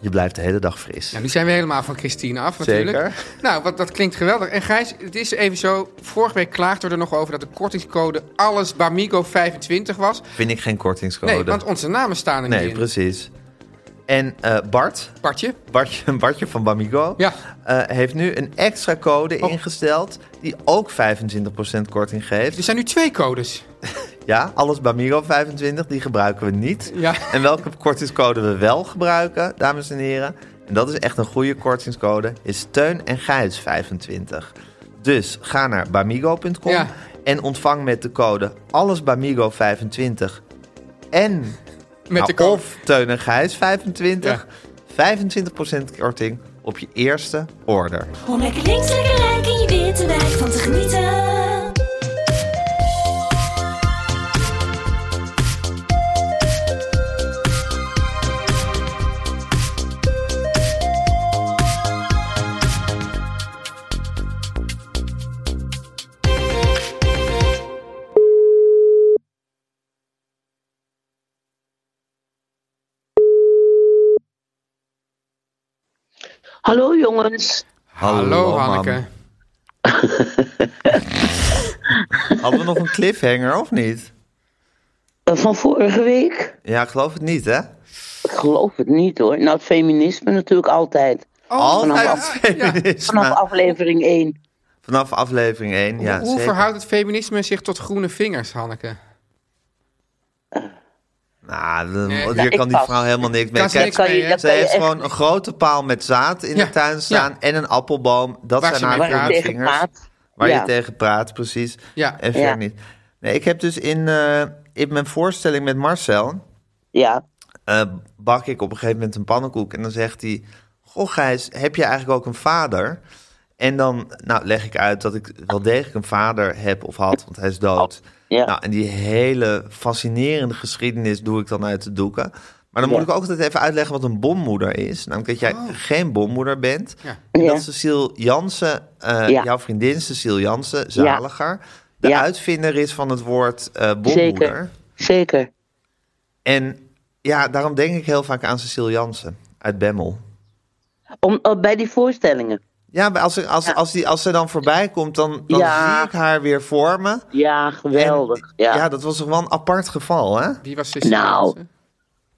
[SPEAKER 1] Je blijft de hele dag fris.
[SPEAKER 2] Nou, nu zijn we helemaal van Christine af
[SPEAKER 1] Zeker.
[SPEAKER 2] natuurlijk. Nou, wat, dat klinkt geweldig. En Gijs, het is even zo. Vorige week klaagden we er nog over dat de kortingscode alles Bamigo 25 was.
[SPEAKER 1] Vind ik geen kortingscode.
[SPEAKER 2] Nee, want onze namen staan er niet
[SPEAKER 1] Nee,
[SPEAKER 2] in.
[SPEAKER 1] precies. En eh, Bart,
[SPEAKER 2] Bartje?
[SPEAKER 1] Bartje, Bartje van Bamigo,
[SPEAKER 2] Ja.
[SPEAKER 1] eh, heeft nu een extra code
[SPEAKER 2] Oh.
[SPEAKER 1] ingesteld die ook 25% korting geeft.
[SPEAKER 2] Er zijn nu twee codes.
[SPEAKER 1] Ja, alles Bamigo 25, die gebruiken we niet.
[SPEAKER 2] Ja.
[SPEAKER 1] En welke kortingscode we wel gebruiken, dames en heren, en dat is echt een goede kortingscode, is Steun en Gijs 25. Dus ga naar bamigo.com
[SPEAKER 2] Ja.
[SPEAKER 1] en ontvang met de code alles Bamigo 25 en
[SPEAKER 2] Met
[SPEAKER 1] nou,
[SPEAKER 2] de code.
[SPEAKER 1] Of Teun en Gijs 25. 25% korting op je eerste order.
[SPEAKER 4] Om lekker links, lekker rijk in je witte wijk van te genieten.
[SPEAKER 6] Hallo jongens.
[SPEAKER 2] Hallo,
[SPEAKER 1] Oh, man.
[SPEAKER 2] Hanneke.
[SPEAKER 1] Hadden we nog een cliffhanger of niet?
[SPEAKER 6] Eh, Van vorige week?
[SPEAKER 1] Ja, ik geloof het niet, hè?
[SPEAKER 2] Oh,
[SPEAKER 6] Ik geloof het niet hoor. Nou, het feminisme natuurlijk altijd.
[SPEAKER 1] Altijd
[SPEAKER 6] vanaf-
[SPEAKER 1] feminisme.
[SPEAKER 6] Vanaf
[SPEAKER 1] Vanaf,
[SPEAKER 6] aflevering 1.
[SPEAKER 1] aflevering 1, ja
[SPEAKER 2] Hoe
[SPEAKER 1] zeker.
[SPEAKER 2] verhoudt het feminisme zich tot groene vingers, Hanneke?
[SPEAKER 1] Nou, de-
[SPEAKER 2] Nee.
[SPEAKER 1] hier
[SPEAKER 6] ik
[SPEAKER 1] kan die
[SPEAKER 6] pas.
[SPEAKER 1] vrouw helemaal niks mee.
[SPEAKER 2] Kan ze
[SPEAKER 1] Kijk,
[SPEAKER 2] niks
[SPEAKER 6] kan je-
[SPEAKER 2] mee, hè?
[SPEAKER 6] dat
[SPEAKER 1] ze
[SPEAKER 6] kan je
[SPEAKER 1] heeft
[SPEAKER 6] echt
[SPEAKER 1] gewoon een grote paal met zaad in
[SPEAKER 2] Ja,
[SPEAKER 1] de tuin staan
[SPEAKER 2] ja.
[SPEAKER 1] en een appelboom. Dat
[SPEAKER 2] Waar ze
[SPEAKER 1] zijn
[SPEAKER 2] mee
[SPEAKER 1] haar
[SPEAKER 6] Waar
[SPEAKER 2] praat.
[SPEAKER 6] je
[SPEAKER 1] groene
[SPEAKER 6] tegen
[SPEAKER 1] vingers.
[SPEAKER 6] praat.
[SPEAKER 1] Waar
[SPEAKER 6] Ja.
[SPEAKER 1] je tegen praat, precies.
[SPEAKER 2] Ja.
[SPEAKER 1] En verder
[SPEAKER 6] Ja.
[SPEAKER 1] niet. Nee, ik heb dus in, eh, in mijn voorstelling met Marcel...
[SPEAKER 6] Ja.
[SPEAKER 1] eh, bak ik op een gegeven moment een pannenkoek. En dan zegt hij: Goh, Gijs, heb je eigenlijk ook een vader? En dan nou, leg ik uit dat ik wel degelijk een vader heb of had, want hij is dood.
[SPEAKER 6] Ja.
[SPEAKER 1] Nou, en die hele fascinerende geschiedenis doe ik dan uit de doeken. Maar dan moet
[SPEAKER 6] Ja.
[SPEAKER 1] ik ook altijd even uitleggen wat een bommoeder is. Namelijk dat jij geen bommoeder bent.
[SPEAKER 2] Ja.
[SPEAKER 1] En
[SPEAKER 6] Ja.
[SPEAKER 1] dat Cecile Jansen, eh,
[SPEAKER 6] Ja.
[SPEAKER 1] jouw vriendin Cecile Jansen, zaliger, de
[SPEAKER 6] Ja.
[SPEAKER 1] uitvinder is van het woord eh bommoeder.
[SPEAKER 6] Zeker. Zeker.
[SPEAKER 1] En ja, daarom denk ik heel vaak aan Cecile Jansen uit Bemmel.
[SPEAKER 6] Om, eh, bij die voorstellingen.
[SPEAKER 1] Ja, maar als, als, als, die, als ze dan voorbij komt, dan, dan
[SPEAKER 6] Ja.
[SPEAKER 1] zie ik haar weer voor me.
[SPEAKER 6] Ja,
[SPEAKER 1] En-
[SPEAKER 6] geweldig. ja.
[SPEAKER 1] ja, dat was toch wel een apart geval, hè?
[SPEAKER 2] Wie was Cecile
[SPEAKER 6] Nou.
[SPEAKER 2] Jansen?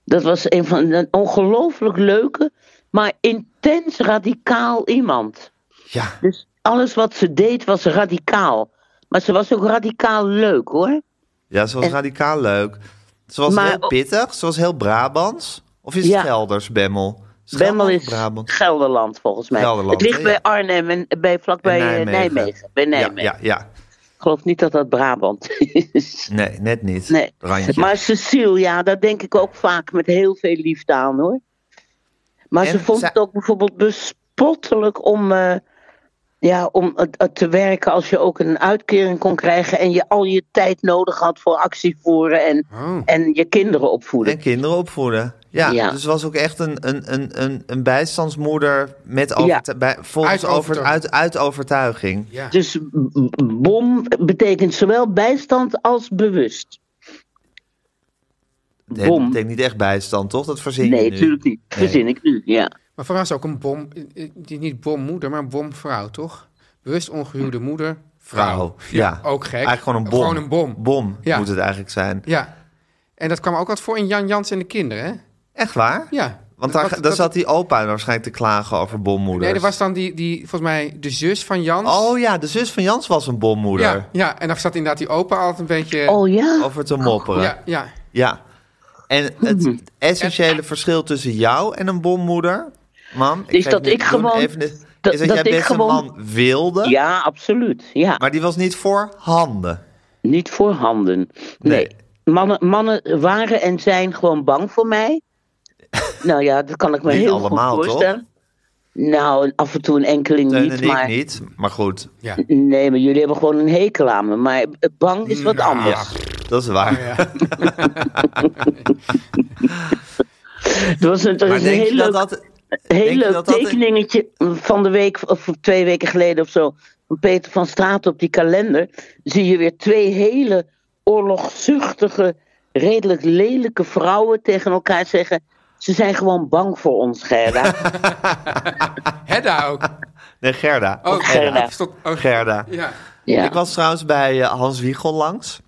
[SPEAKER 6] Dat was een van een ongelooflijk leuke, maar intens radicaal iemand.
[SPEAKER 1] Ja,
[SPEAKER 6] Dus alles wat ze deed was radicaal. Maar ze was ook radicaal leuk hoor.
[SPEAKER 1] ja ze was radicaal leuk. Ze was
[SPEAKER 6] Maar-
[SPEAKER 1] heel pittig, ze was heel Brabants. Of is het
[SPEAKER 6] Ja.
[SPEAKER 1] Gelders, Bemmel? Is
[SPEAKER 6] Bemmel
[SPEAKER 1] Gelderland
[SPEAKER 6] is
[SPEAKER 1] of Brabant.
[SPEAKER 6] Gelderland volgens mij.
[SPEAKER 1] Gelderland,
[SPEAKER 6] het ligt
[SPEAKER 1] hè, ja.
[SPEAKER 6] bij Arnhem en bij, vlakbij eh, Nijmegen. Bij Nijmegen.
[SPEAKER 1] Ja, ja, ja.
[SPEAKER 6] Ik geloof niet dat dat Brabant is.
[SPEAKER 1] Nee, net niet.
[SPEAKER 6] Nee.
[SPEAKER 1] Randje.
[SPEAKER 6] Maar Cecile, ja, daar denk ik ook vaak met heel veel liefde aan hoor. Maar
[SPEAKER 1] En
[SPEAKER 6] ze vond
[SPEAKER 1] zij-
[SPEAKER 6] het ook bijvoorbeeld bespottelijk om, eh, ja, om eh, eh, te werken als je ook een uitkering kon krijgen en je al je tijd nodig had voor actievoeren en,
[SPEAKER 2] Oh.
[SPEAKER 6] en je kinderen opvoeden.
[SPEAKER 1] En kinderen opvoeden. Ja,
[SPEAKER 6] Ja.
[SPEAKER 1] dus ze was ook echt een, een, een, een, een bijstandsmoeder met over,
[SPEAKER 6] Ja.
[SPEAKER 1] bij, volgens
[SPEAKER 2] Uit
[SPEAKER 1] over, uit,
[SPEAKER 2] overtuiging.
[SPEAKER 1] uit overtuiging.
[SPEAKER 2] Ja.
[SPEAKER 6] Dus b- b- bom betekent zowel bijstand als bewust.
[SPEAKER 1] Dat
[SPEAKER 6] Bom.
[SPEAKER 1] betekent niet echt bijstand, toch? Dat verzin je
[SPEAKER 6] Nee,
[SPEAKER 1] nu.
[SPEAKER 6] natuurlijk niet.
[SPEAKER 1] Nee.
[SPEAKER 6] Verzin ik nu, ja.
[SPEAKER 2] Maar vooral is ook een bom, eh, eh, die niet bommoeder, maar bomvrouw, toch? Bewust ongehuwde moeder, vrouw.
[SPEAKER 1] Vrouw, ja.
[SPEAKER 2] Nou, Ook gek.
[SPEAKER 1] Eigenlijk gewoon een bom.
[SPEAKER 2] Gewoon een bom.
[SPEAKER 1] Bom
[SPEAKER 2] Ja.
[SPEAKER 1] moet het eigenlijk zijn.
[SPEAKER 2] Ja. En dat kwam ook wat voor in Jan Jans en de kinderen, hè?
[SPEAKER 1] Echt waar?
[SPEAKER 2] Ja.
[SPEAKER 1] Want daar,
[SPEAKER 2] Wat-
[SPEAKER 1] daar
[SPEAKER 2] dat-
[SPEAKER 1] zat die opa waarschijnlijk te klagen over bommoeders.
[SPEAKER 2] Nee, er was dan die, die, volgens mij, de zus van Jans.
[SPEAKER 1] Oh ja, de zus van Jans was een bommoeder.
[SPEAKER 2] ja. Ja, en daar zat inderdaad die opa altijd een beetje...
[SPEAKER 6] Oh ja?
[SPEAKER 1] Over te mopperen.
[SPEAKER 2] ja, ja.
[SPEAKER 1] Ja. En
[SPEAKER 6] Hmm.
[SPEAKER 1] het essentiële verschil tussen jou en een bommoeder, mam, ik
[SPEAKER 6] Is
[SPEAKER 1] ga
[SPEAKER 6] dat
[SPEAKER 1] het niet
[SPEAKER 6] ik
[SPEAKER 1] doen,
[SPEAKER 6] gewoon-
[SPEAKER 1] even dit-
[SPEAKER 6] dat-
[SPEAKER 1] is dat,
[SPEAKER 6] dat
[SPEAKER 1] jij
[SPEAKER 6] ik
[SPEAKER 1] best
[SPEAKER 6] gewoon-
[SPEAKER 1] een man wilde,
[SPEAKER 6] Ja, absoluut. Ja.
[SPEAKER 1] maar die was niet voor handen.
[SPEAKER 6] Niet voor handen. Nee.
[SPEAKER 1] Nee.
[SPEAKER 6] Mannen, mannen waren en zijn gewoon bang voor mij. nou ja, dat kan ik me
[SPEAKER 1] Niet
[SPEAKER 6] heel
[SPEAKER 1] allemaal,
[SPEAKER 6] goed
[SPEAKER 1] toch?
[SPEAKER 6] voorstellen. Nou, af en toe een enkeling
[SPEAKER 1] Teun
[SPEAKER 6] niet,
[SPEAKER 1] en ik
[SPEAKER 6] maar...
[SPEAKER 1] niet, maar goed,
[SPEAKER 2] ja.
[SPEAKER 6] Nee, maar jullie hebben gewoon een hekel aan me. Maar eh, bang is wat
[SPEAKER 2] Nou,
[SPEAKER 6] anders.
[SPEAKER 1] ja, dat is waar.
[SPEAKER 2] ja.
[SPEAKER 6] Het was een, er
[SPEAKER 1] Maar
[SPEAKER 6] is een
[SPEAKER 1] denk
[SPEAKER 6] heel
[SPEAKER 1] je dat
[SPEAKER 6] leuk,
[SPEAKER 1] dat...
[SPEAKER 6] heel
[SPEAKER 1] denk je
[SPEAKER 6] leuk
[SPEAKER 1] dat dat-
[SPEAKER 6] tekeningetje van de week, of twee weken geleden of zo, van Peter van Straat op die kalender. Zie je weer twee hele oorlogzuchtige, redelijk lelijke vrouwen tegen elkaar zeggen. Ze zijn gewoon bang voor ons, Gerda.
[SPEAKER 2] Hedda ook.
[SPEAKER 1] Nee, Gerda.
[SPEAKER 2] Oh,
[SPEAKER 6] Gerda.
[SPEAKER 2] ik stond- oh,
[SPEAKER 1] Gerda.
[SPEAKER 2] Ja.
[SPEAKER 6] Ja.
[SPEAKER 1] Ik was trouwens bij eh, Hans Wiegel langs.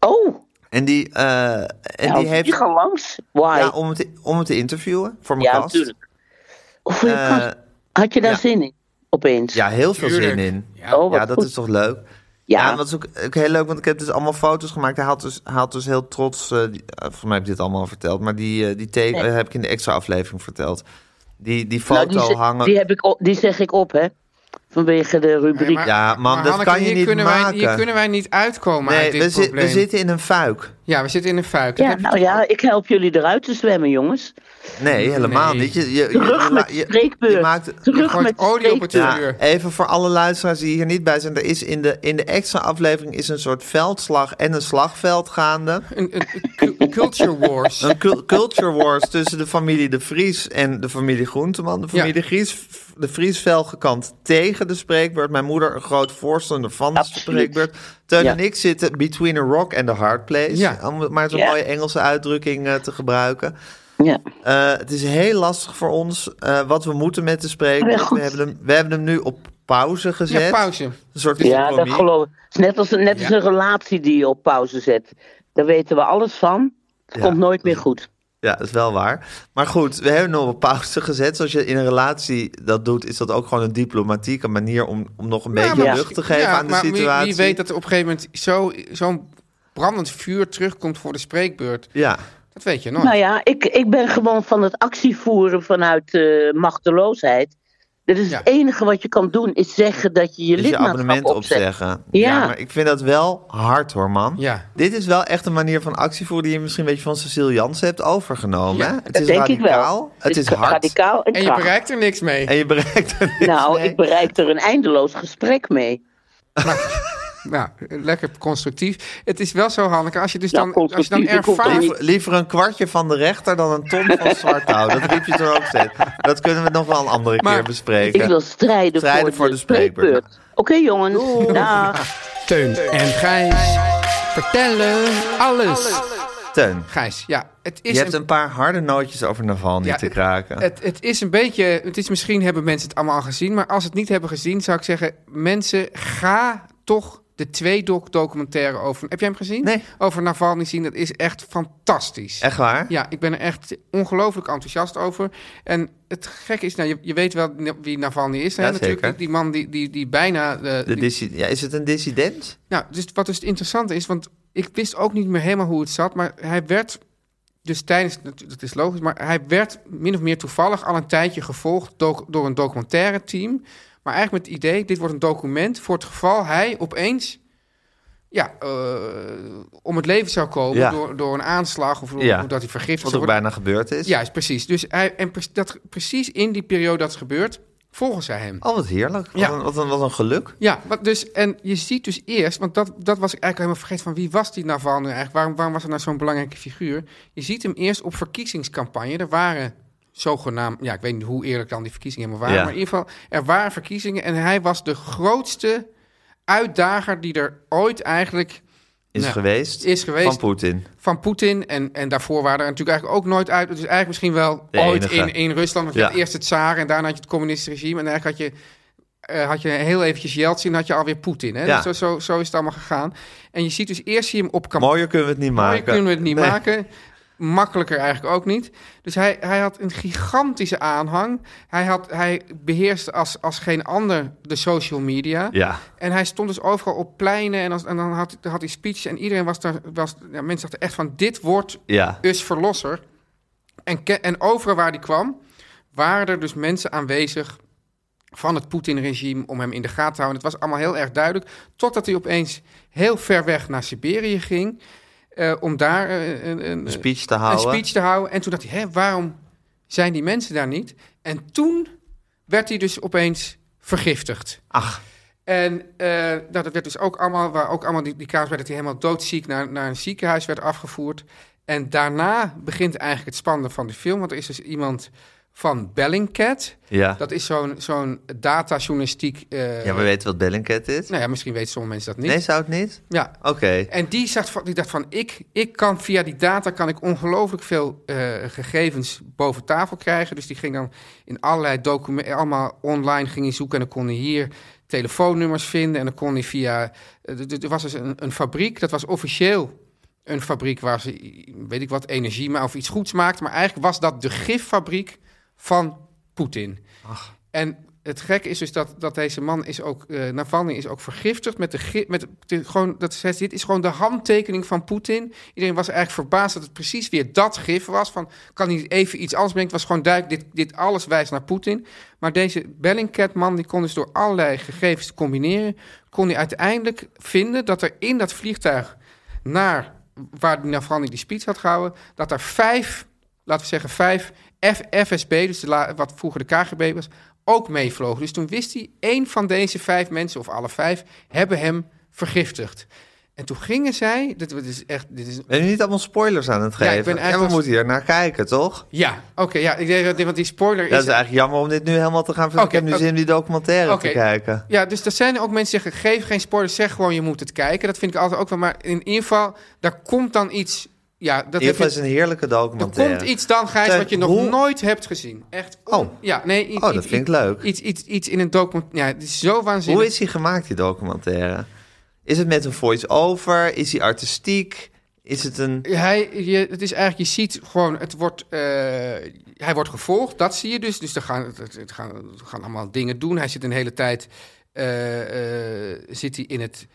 [SPEAKER 6] Oh,
[SPEAKER 1] En die, eh, en
[SPEAKER 6] nou,
[SPEAKER 1] die heeft...
[SPEAKER 6] die gaan langs. Why?
[SPEAKER 1] Ja, om hem, te, om hem te interviewen voor mijn
[SPEAKER 6] Ja,
[SPEAKER 1] kast.
[SPEAKER 6] natuurlijk. Of voor je
[SPEAKER 1] Eh,
[SPEAKER 6] kast. Had je daar
[SPEAKER 1] ja.
[SPEAKER 6] zin in? Opeens.
[SPEAKER 1] Ja, heel veel
[SPEAKER 2] Tuurlijk.
[SPEAKER 1] zin in.
[SPEAKER 2] Ja.
[SPEAKER 6] Oh, wat
[SPEAKER 1] ja, dat
[SPEAKER 6] goed.
[SPEAKER 1] is toch leuk?
[SPEAKER 6] Ja.
[SPEAKER 1] Ja, en dat is ook, ook heel leuk, want ik heb dus allemaal foto's gemaakt. Hij had dus, hij had dus heel trots, eh, die- eh, volgens mij heb ik dit allemaal al verteld, maar die, eh, die teken eh, heb ik in de extra aflevering verteld. Die, die
[SPEAKER 6] Nou,
[SPEAKER 1] foto
[SPEAKER 6] die, ze-
[SPEAKER 1] hangen.
[SPEAKER 6] die, heb ik op, die zeg ik op, hè? Vanwege de rubriek.
[SPEAKER 2] maar-
[SPEAKER 1] ja, man, dat
[SPEAKER 2] Nou, Hanneke,
[SPEAKER 1] kan je
[SPEAKER 2] hier
[SPEAKER 1] niet
[SPEAKER 2] kunnen Wij, hier
[SPEAKER 1] maken.
[SPEAKER 2] kunnen wij niet uitkomen
[SPEAKER 1] nee,
[SPEAKER 2] uit dit
[SPEAKER 1] we, zi-
[SPEAKER 2] probleem.
[SPEAKER 1] we zitten in een fuik.
[SPEAKER 2] Ja, we zitten in een fuik.
[SPEAKER 6] ja, nou ja, ik help jullie eruit te zwemmen, jongens.
[SPEAKER 1] Nee, helemaal
[SPEAKER 2] Nee.
[SPEAKER 1] niet. Je, je, je,
[SPEAKER 6] Terug
[SPEAKER 1] je-
[SPEAKER 6] met
[SPEAKER 1] je-
[SPEAKER 6] spreekbeurt.
[SPEAKER 1] je maakt,
[SPEAKER 6] Terug
[SPEAKER 2] gooit
[SPEAKER 6] met
[SPEAKER 2] olie op het
[SPEAKER 6] spreekbeurt.
[SPEAKER 2] vuur.
[SPEAKER 1] Ja, even voor alle luisteraars die hier niet bij zijn. Er is in, de, in de extra aflevering is een soort veldslag en een slagveld gaande.
[SPEAKER 2] Een, een, een cu- culture wars.
[SPEAKER 1] Een cul- culture wars tussen de familie De Vries en de familie Groenteman. De familie
[SPEAKER 2] Ja.
[SPEAKER 1] de, Vries, de Vries felgekant tegen de spreekbeurt. Mijn moeder een groot voorstander van de
[SPEAKER 6] Absoluut.
[SPEAKER 1] spreekbeurt. Teun
[SPEAKER 6] Ja.
[SPEAKER 1] en ik zitten between a rock and a hard place.
[SPEAKER 2] Ja.
[SPEAKER 1] Om maar zo'n
[SPEAKER 6] Ja.
[SPEAKER 1] mooie Engelse uitdrukking eh, te gebruiken.
[SPEAKER 6] Ja.
[SPEAKER 1] Eh, het is heel lastig voor ons eh, wat we moeten met de spreekbeurt.
[SPEAKER 6] goed.
[SPEAKER 1] We hebben hem, we hebben hem nu op pauze gezet.
[SPEAKER 2] Ja, pauze.
[SPEAKER 1] Een soort
[SPEAKER 6] Ja, dat
[SPEAKER 1] compromis.
[SPEAKER 6] geloof ik. Het is Net als, net als
[SPEAKER 2] Ja.
[SPEAKER 6] een relatie die je op pauze zet. Daar weten we alles van. Het
[SPEAKER 1] Ja.
[SPEAKER 6] komt nooit meer goed.
[SPEAKER 1] Ja, dat is wel waar. Maar goed, we hebben nog op pauze gezet. Zoals je in een relatie dat doet, is dat ook gewoon een diplomatieke manier om, om nog een beetje
[SPEAKER 6] maar-
[SPEAKER 1] lucht te geven
[SPEAKER 2] ja,
[SPEAKER 1] aan de
[SPEAKER 2] maar wie-
[SPEAKER 1] situatie.
[SPEAKER 2] Wie, weet dat er op een gegeven moment zo- zo'n brandend vuur terugkomt voor de spreekbeurt.
[SPEAKER 1] Ja,
[SPEAKER 2] Dat weet je nooit.
[SPEAKER 6] Nou ja, ik, ik ben gewoon van het actievoeren vanuit eh, machteloosheid. Dat is
[SPEAKER 2] Ja.
[SPEAKER 6] het enige wat je kan doen, is zeggen dat je je
[SPEAKER 1] dus je
[SPEAKER 6] lidmaatschap
[SPEAKER 1] abonnement
[SPEAKER 6] opzet.
[SPEAKER 1] opzeggen.
[SPEAKER 6] Ja.
[SPEAKER 1] maar ik vind dat wel hard hoor, man.
[SPEAKER 2] Ja.
[SPEAKER 1] Dit is wel echt een manier van actievoeren die je misschien een beetje van Cecile Jansen hebt overgenomen.
[SPEAKER 2] Ja,
[SPEAKER 1] hè? het
[SPEAKER 6] Dat
[SPEAKER 1] is
[SPEAKER 6] denk
[SPEAKER 1] radicaal,
[SPEAKER 6] ik wel.
[SPEAKER 1] het is hard
[SPEAKER 6] Radicaal en,
[SPEAKER 2] En je
[SPEAKER 6] krachtig.
[SPEAKER 2] bereikt er niks mee.
[SPEAKER 1] en je bereikt er niks
[SPEAKER 6] Nou,
[SPEAKER 1] mee.
[SPEAKER 6] ik bereik er een eindeloos gesprek mee.
[SPEAKER 2] Nou, lekker constructief. Het is wel zo, Hanneke, als je dus
[SPEAKER 6] Ja,
[SPEAKER 2] dan, als je dan
[SPEAKER 6] constructief, ik hoef er
[SPEAKER 2] ervaart...
[SPEAKER 6] niet-
[SPEAKER 1] Liever, liever een kwartje van de rechter dan een ton van Zwartouw. dat riep je toen ook steeds. Dat kunnen we nog wel een andere
[SPEAKER 2] Maar
[SPEAKER 1] keer bespreken.
[SPEAKER 6] Ik wil strijden,
[SPEAKER 1] Strijden voor de spreekbeurt.
[SPEAKER 6] Oké jongens, dag.
[SPEAKER 2] Teun en Gijs vertellen alles.
[SPEAKER 1] Teun,
[SPEAKER 2] Gijs, ja, het is
[SPEAKER 1] Je hebt
[SPEAKER 2] een-
[SPEAKER 1] een paar harde nootjes over Naval niet
[SPEAKER 2] Ja,
[SPEAKER 1] te
[SPEAKER 2] het-
[SPEAKER 1] kraken.
[SPEAKER 2] Het, het is een beetje, het is misschien hebben mensen het allemaal al gezien, maar als ze het niet hebben gezien, zou ik zeggen: mensen, ga toch de twee doc documentaire over. Heb jij hem gezien?
[SPEAKER 1] Nee.
[SPEAKER 2] Over Navalny zien, dat is echt fantastisch.
[SPEAKER 1] Echt waar?
[SPEAKER 2] Ja, ik ben er echt ongelooflijk enthousiast over. En het gekke is, nou, je, je weet wel wie Navalny is. Hè?
[SPEAKER 1] Ja,
[SPEAKER 2] Natuurlijk,
[SPEAKER 1] zeker.
[SPEAKER 2] die man die, die, die bijna. eh,
[SPEAKER 1] De
[SPEAKER 2] die-
[SPEAKER 1] dissi- ja, is het een dissident?
[SPEAKER 2] nou, dus wat dus het interessante is, want ik wist ook niet meer helemaal hoe het zat, maar hij werd dus tijdens, dat is logisch, maar hij werd min of meer toevallig al een tijdje gevolgd doc- door een documentaire team. Maar eigenlijk met het idee, dit wordt een document voor het geval hij opeens ja, eh, om het leven zou komen
[SPEAKER 1] Ja.
[SPEAKER 2] door, door een aanslag of door,
[SPEAKER 1] Ja.
[SPEAKER 2] doordat hij vergiftigd
[SPEAKER 1] Wat
[SPEAKER 2] zou
[SPEAKER 1] ook
[SPEAKER 2] worden.
[SPEAKER 1] bijna gebeurd is.
[SPEAKER 2] Juist, precies. Dus hij, en pre- dat, precies in die periode dat het gebeurt, volgen zij hem.
[SPEAKER 1] Oh, wat heerlijk. Wat,
[SPEAKER 2] Ja.
[SPEAKER 1] een, wat, een, wat een geluk.
[SPEAKER 2] Ja, wat dus, en je ziet dus eerst, want dat, dat was ik eigenlijk helemaal vergeten van wie was die Naval nu eigenlijk? Waarom, waarom was hij nou zo'n belangrijke figuur? Je ziet hem eerst op verkiezingscampagne. Er waren zogenaamd, ja, ik weet niet hoe eerlijk dan die verkiezingen helemaal waren,
[SPEAKER 1] Ja.
[SPEAKER 2] maar in ieder geval, er waren verkiezingen en hij was de grootste uitdager die er ooit eigenlijk
[SPEAKER 1] Is
[SPEAKER 2] Nou,
[SPEAKER 1] geweest.
[SPEAKER 2] is geweest.
[SPEAKER 1] Van Poetin.
[SPEAKER 2] van Poetin en, en daarvoor waren er natuurlijk eigenlijk ook nooit uit. Dus eigenlijk misschien wel
[SPEAKER 1] De
[SPEAKER 2] ooit
[SPEAKER 1] enige.
[SPEAKER 2] in, in Rusland. Want je
[SPEAKER 1] Ja.
[SPEAKER 2] had eerst het Tsaren en daarna had je het communistische regime. En eigenlijk had je, eh, had je heel eventjes Yeltsin en had je alweer Poetin. Hè?
[SPEAKER 1] Ja.
[SPEAKER 2] Dus zo, zo, zo is het allemaal gegaan. En je ziet dus eerst zie je hem op campagne.
[SPEAKER 1] Mooier kunnen we het niet
[SPEAKER 2] Mooier
[SPEAKER 1] maken.
[SPEAKER 2] kunnen we het niet
[SPEAKER 1] Nee.
[SPEAKER 2] maken. Makkelijker eigenlijk ook niet. Dus hij, hij had een gigantische aanhang. Hij, had, hij beheerste als, als geen ander de social media.
[SPEAKER 1] Ja.
[SPEAKER 2] En hij stond dus overal op pleinen en, als, en dan had, had hij speeches en iedereen was daar, was, ja, mensen dachten echt van dit wordt
[SPEAKER 1] Ja.
[SPEAKER 2] dus verlosser. En, ke- en overal waar hij kwam, waren er dus mensen aanwezig van het Poetin-regime om hem in de gaten te houden. Het was allemaal heel erg duidelijk, totdat hij opeens heel ver weg naar Siberië ging eh, om daar eh, een, een,
[SPEAKER 1] Een speech te
[SPEAKER 2] een
[SPEAKER 1] houden.
[SPEAKER 2] speech te houden. En toen dacht hij, hè, waarom zijn die mensen daar niet? En toen werd hij dus opeens vergiftigd.
[SPEAKER 1] Ach,
[SPEAKER 2] En eh, nou, dat werd dus ook allemaal, waar ook allemaal die, die kaas bij dat hij helemaal doodziek naar, naar een ziekenhuis werd afgevoerd. En daarna begint eigenlijk het spannende van de film. Want er is dus iemand van Bellingcat.
[SPEAKER 1] Ja.
[SPEAKER 2] Dat is zo'n zo'n datajournalistiek... eh,
[SPEAKER 1] ja, we weten wat Bellingcat is.
[SPEAKER 2] Nou ja, misschien weten sommige mensen dat niet.
[SPEAKER 1] Nee, zou het niet?
[SPEAKER 2] Ja.
[SPEAKER 1] Oké.
[SPEAKER 2] En die, zag van, die dacht van, ik, ik kan via die data kan ik ongelooflijk veel eh, gegevens boven tafel krijgen. Dus die ging dan in allerlei documenten, allemaal online ging hij zoeken. En dan kon hij hier telefoonnummers vinden. En dan kon hij via, eh, d- d- er was dus een, een fabriek, dat was officieel een fabriek waar ze, i- weet ik wat, energie maar of iets goeds maakte. Maar eigenlijk was dat de giffabriek van Poetin. En het gekke is dus dat, dat deze man is ook, eh Navalny is ook vergiftigd met de, gi- met de- de- gewoon, dat is, dit is gewoon de handtekening van Poetin. Iedereen was eigenlijk verbaasd dat het precies weer dat gif was. Van, kan hij even iets anders brengen? Het was gewoon duidelijk, dit, dit alles wijst naar Poetin. Maar deze Bellingcat-man, die kon dus door allerlei gegevens te combineren, kon hij uiteindelijk vinden dat er in dat vliegtuig naar waar die Navalny die speech had gehouden, dat er vijf, laten we zeggen vijf F- FSB, dus de la- wat vroeger de KGB was, ook meevlogen. Dus toen wist hij, één van deze vijf mensen, of alle vijf, hebben hem vergiftigd. En toen gingen zij, dit, dit is echt, dit is
[SPEAKER 1] Ben je niet allemaal spoilers aan het
[SPEAKER 2] Ja, ik
[SPEAKER 1] geven?
[SPEAKER 2] ben
[SPEAKER 1] En we
[SPEAKER 2] eigenlijk-
[SPEAKER 1] moeten hier naar kijken, toch?
[SPEAKER 2] ja, oké, ja, ik denk dat dit- want die spoiler is.
[SPEAKER 1] Dat is eigenlijk jammer om dit nu helemaal te gaan vertellen.
[SPEAKER 2] Oké,
[SPEAKER 1] ik heb nu
[SPEAKER 2] oké.
[SPEAKER 1] zin om die documentaire
[SPEAKER 2] Oké.
[SPEAKER 1] te kijken.
[SPEAKER 2] Ja, dus er zijn ook mensen die zeggen, geef geen spoilers, zeg gewoon je moet het kijken. Dat vind ik altijd ook wel, maar in ieder geval, daar komt dan iets, ja, dat
[SPEAKER 1] In ieder
[SPEAKER 2] heb
[SPEAKER 1] geval
[SPEAKER 2] je
[SPEAKER 1] is het een heerlijke
[SPEAKER 2] Er
[SPEAKER 1] documentaire.
[SPEAKER 2] komt iets dan, Gijs,
[SPEAKER 1] Zeg,
[SPEAKER 2] wat je nog
[SPEAKER 1] hoe-
[SPEAKER 2] nooit hebt gezien. Echt.
[SPEAKER 1] Oh.
[SPEAKER 2] Ja, nee. Iets,
[SPEAKER 1] Oh, dat
[SPEAKER 2] iets-
[SPEAKER 1] vind ik leuk.
[SPEAKER 2] Iets, iets, iets in een document. Ja, het is zo waanzinnig.
[SPEAKER 1] Hoe is die gemaakt, die documentaire? Is het met een voice-over? Is die artistiek? Is het een...
[SPEAKER 2] Hij, je, het is eigenlijk, je ziet gewoon, het wordt, eh, hij wordt gevolgd, dat zie je dus. Dus er gaan, er er gaan, er gaan allemaal dingen doen. Hij zit een hele tijd eh, eh, zit hij in het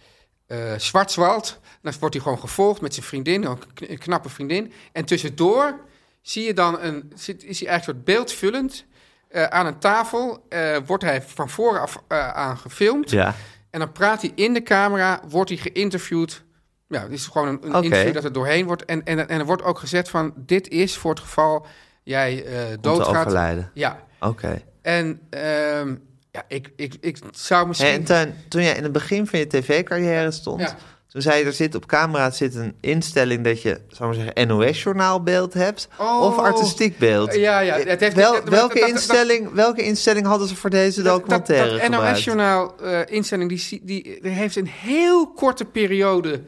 [SPEAKER 2] eh Zwartswald. Dan wordt hij gewoon gevolgd met zijn vriendin, ook een kn- een knappe vriendin. En tussendoor zie je dan een, zit, is hij eigenlijk een soort beeldvullend eh, aan een tafel. eh, wordt hij van voren af eh, aan gefilmd.
[SPEAKER 1] Ja.
[SPEAKER 2] En dan praat hij in de camera, wordt hij geïnterviewd. Ja, het is gewoon een, een
[SPEAKER 1] Oké.
[SPEAKER 2] interview dat er doorheen wordt. En, en, en er wordt ook gezegd van, dit is voor het geval jij eh
[SPEAKER 1] Om te
[SPEAKER 2] doodgaat.
[SPEAKER 1] overlijden.
[SPEAKER 2] ja,
[SPEAKER 1] Oké.
[SPEAKER 2] en ehm, ja, ik, ik, ik zou misschien...
[SPEAKER 1] Hey, en Tuin, toen jij in het begin van je tv-carrière stond...
[SPEAKER 2] Ja.
[SPEAKER 1] toen zei je, er zit op camera zit een instelling dat je, zal ik maar zeggen, NOS-journaalbeeld hebt...
[SPEAKER 2] Oh.
[SPEAKER 1] of artistiek beeld.
[SPEAKER 2] Ja, ja, het heeft-
[SPEAKER 1] Wel-
[SPEAKER 2] dat- dat-
[SPEAKER 1] welke,
[SPEAKER 2] dat- dat-
[SPEAKER 1] instelling, welke instelling hadden ze voor deze
[SPEAKER 2] Dat-
[SPEAKER 1] documentaire
[SPEAKER 2] Dat, dat
[SPEAKER 1] gebruikt?
[SPEAKER 2] NOS-journaal eh, instelling, die, zie- die, die heeft een heel korte periode...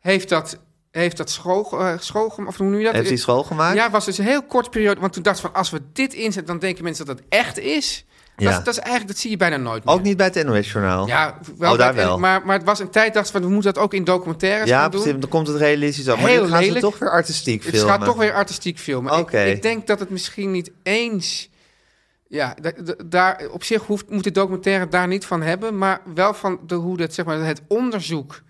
[SPEAKER 2] heeft dat, heeft dat school, eh, schoolgem- of hoe noem je dat?
[SPEAKER 1] Heeft hij schoongemaakt?
[SPEAKER 2] Ja, het was dus een heel kort periode. Want toen dacht ik van, als we dit inzetten, dan denken mensen dat het echt is. Dat,
[SPEAKER 1] Ja.
[SPEAKER 2] is- dat is eigenlijk, dat zie je bijna nooit meer.
[SPEAKER 1] Ook niet bij het NOS-journaal?
[SPEAKER 2] Ja, wel
[SPEAKER 1] Oh, daar
[SPEAKER 2] bij-
[SPEAKER 1] wel.
[SPEAKER 2] Maar, maar het was een tijd, dacht van, we moeten dat ook in documentaires
[SPEAKER 1] Ja,
[SPEAKER 2] gaan doen.
[SPEAKER 1] precies, want dan komt het realistisch af. Maar
[SPEAKER 2] Heel
[SPEAKER 1] nu gaan
[SPEAKER 2] lelijk.
[SPEAKER 1] ze toch weer artistiek
[SPEAKER 2] Het
[SPEAKER 1] filmen.
[SPEAKER 2] gaat toch weer artistiek filmen. Ik-
[SPEAKER 1] Oké.
[SPEAKER 2] Ik, denk dat het misschien niet eens... Ja, da- da- daar, op zich hoeft, moet de documentaire daar niet van hebben... maar wel van de, hoe dat, zeg maar, het onderzoek...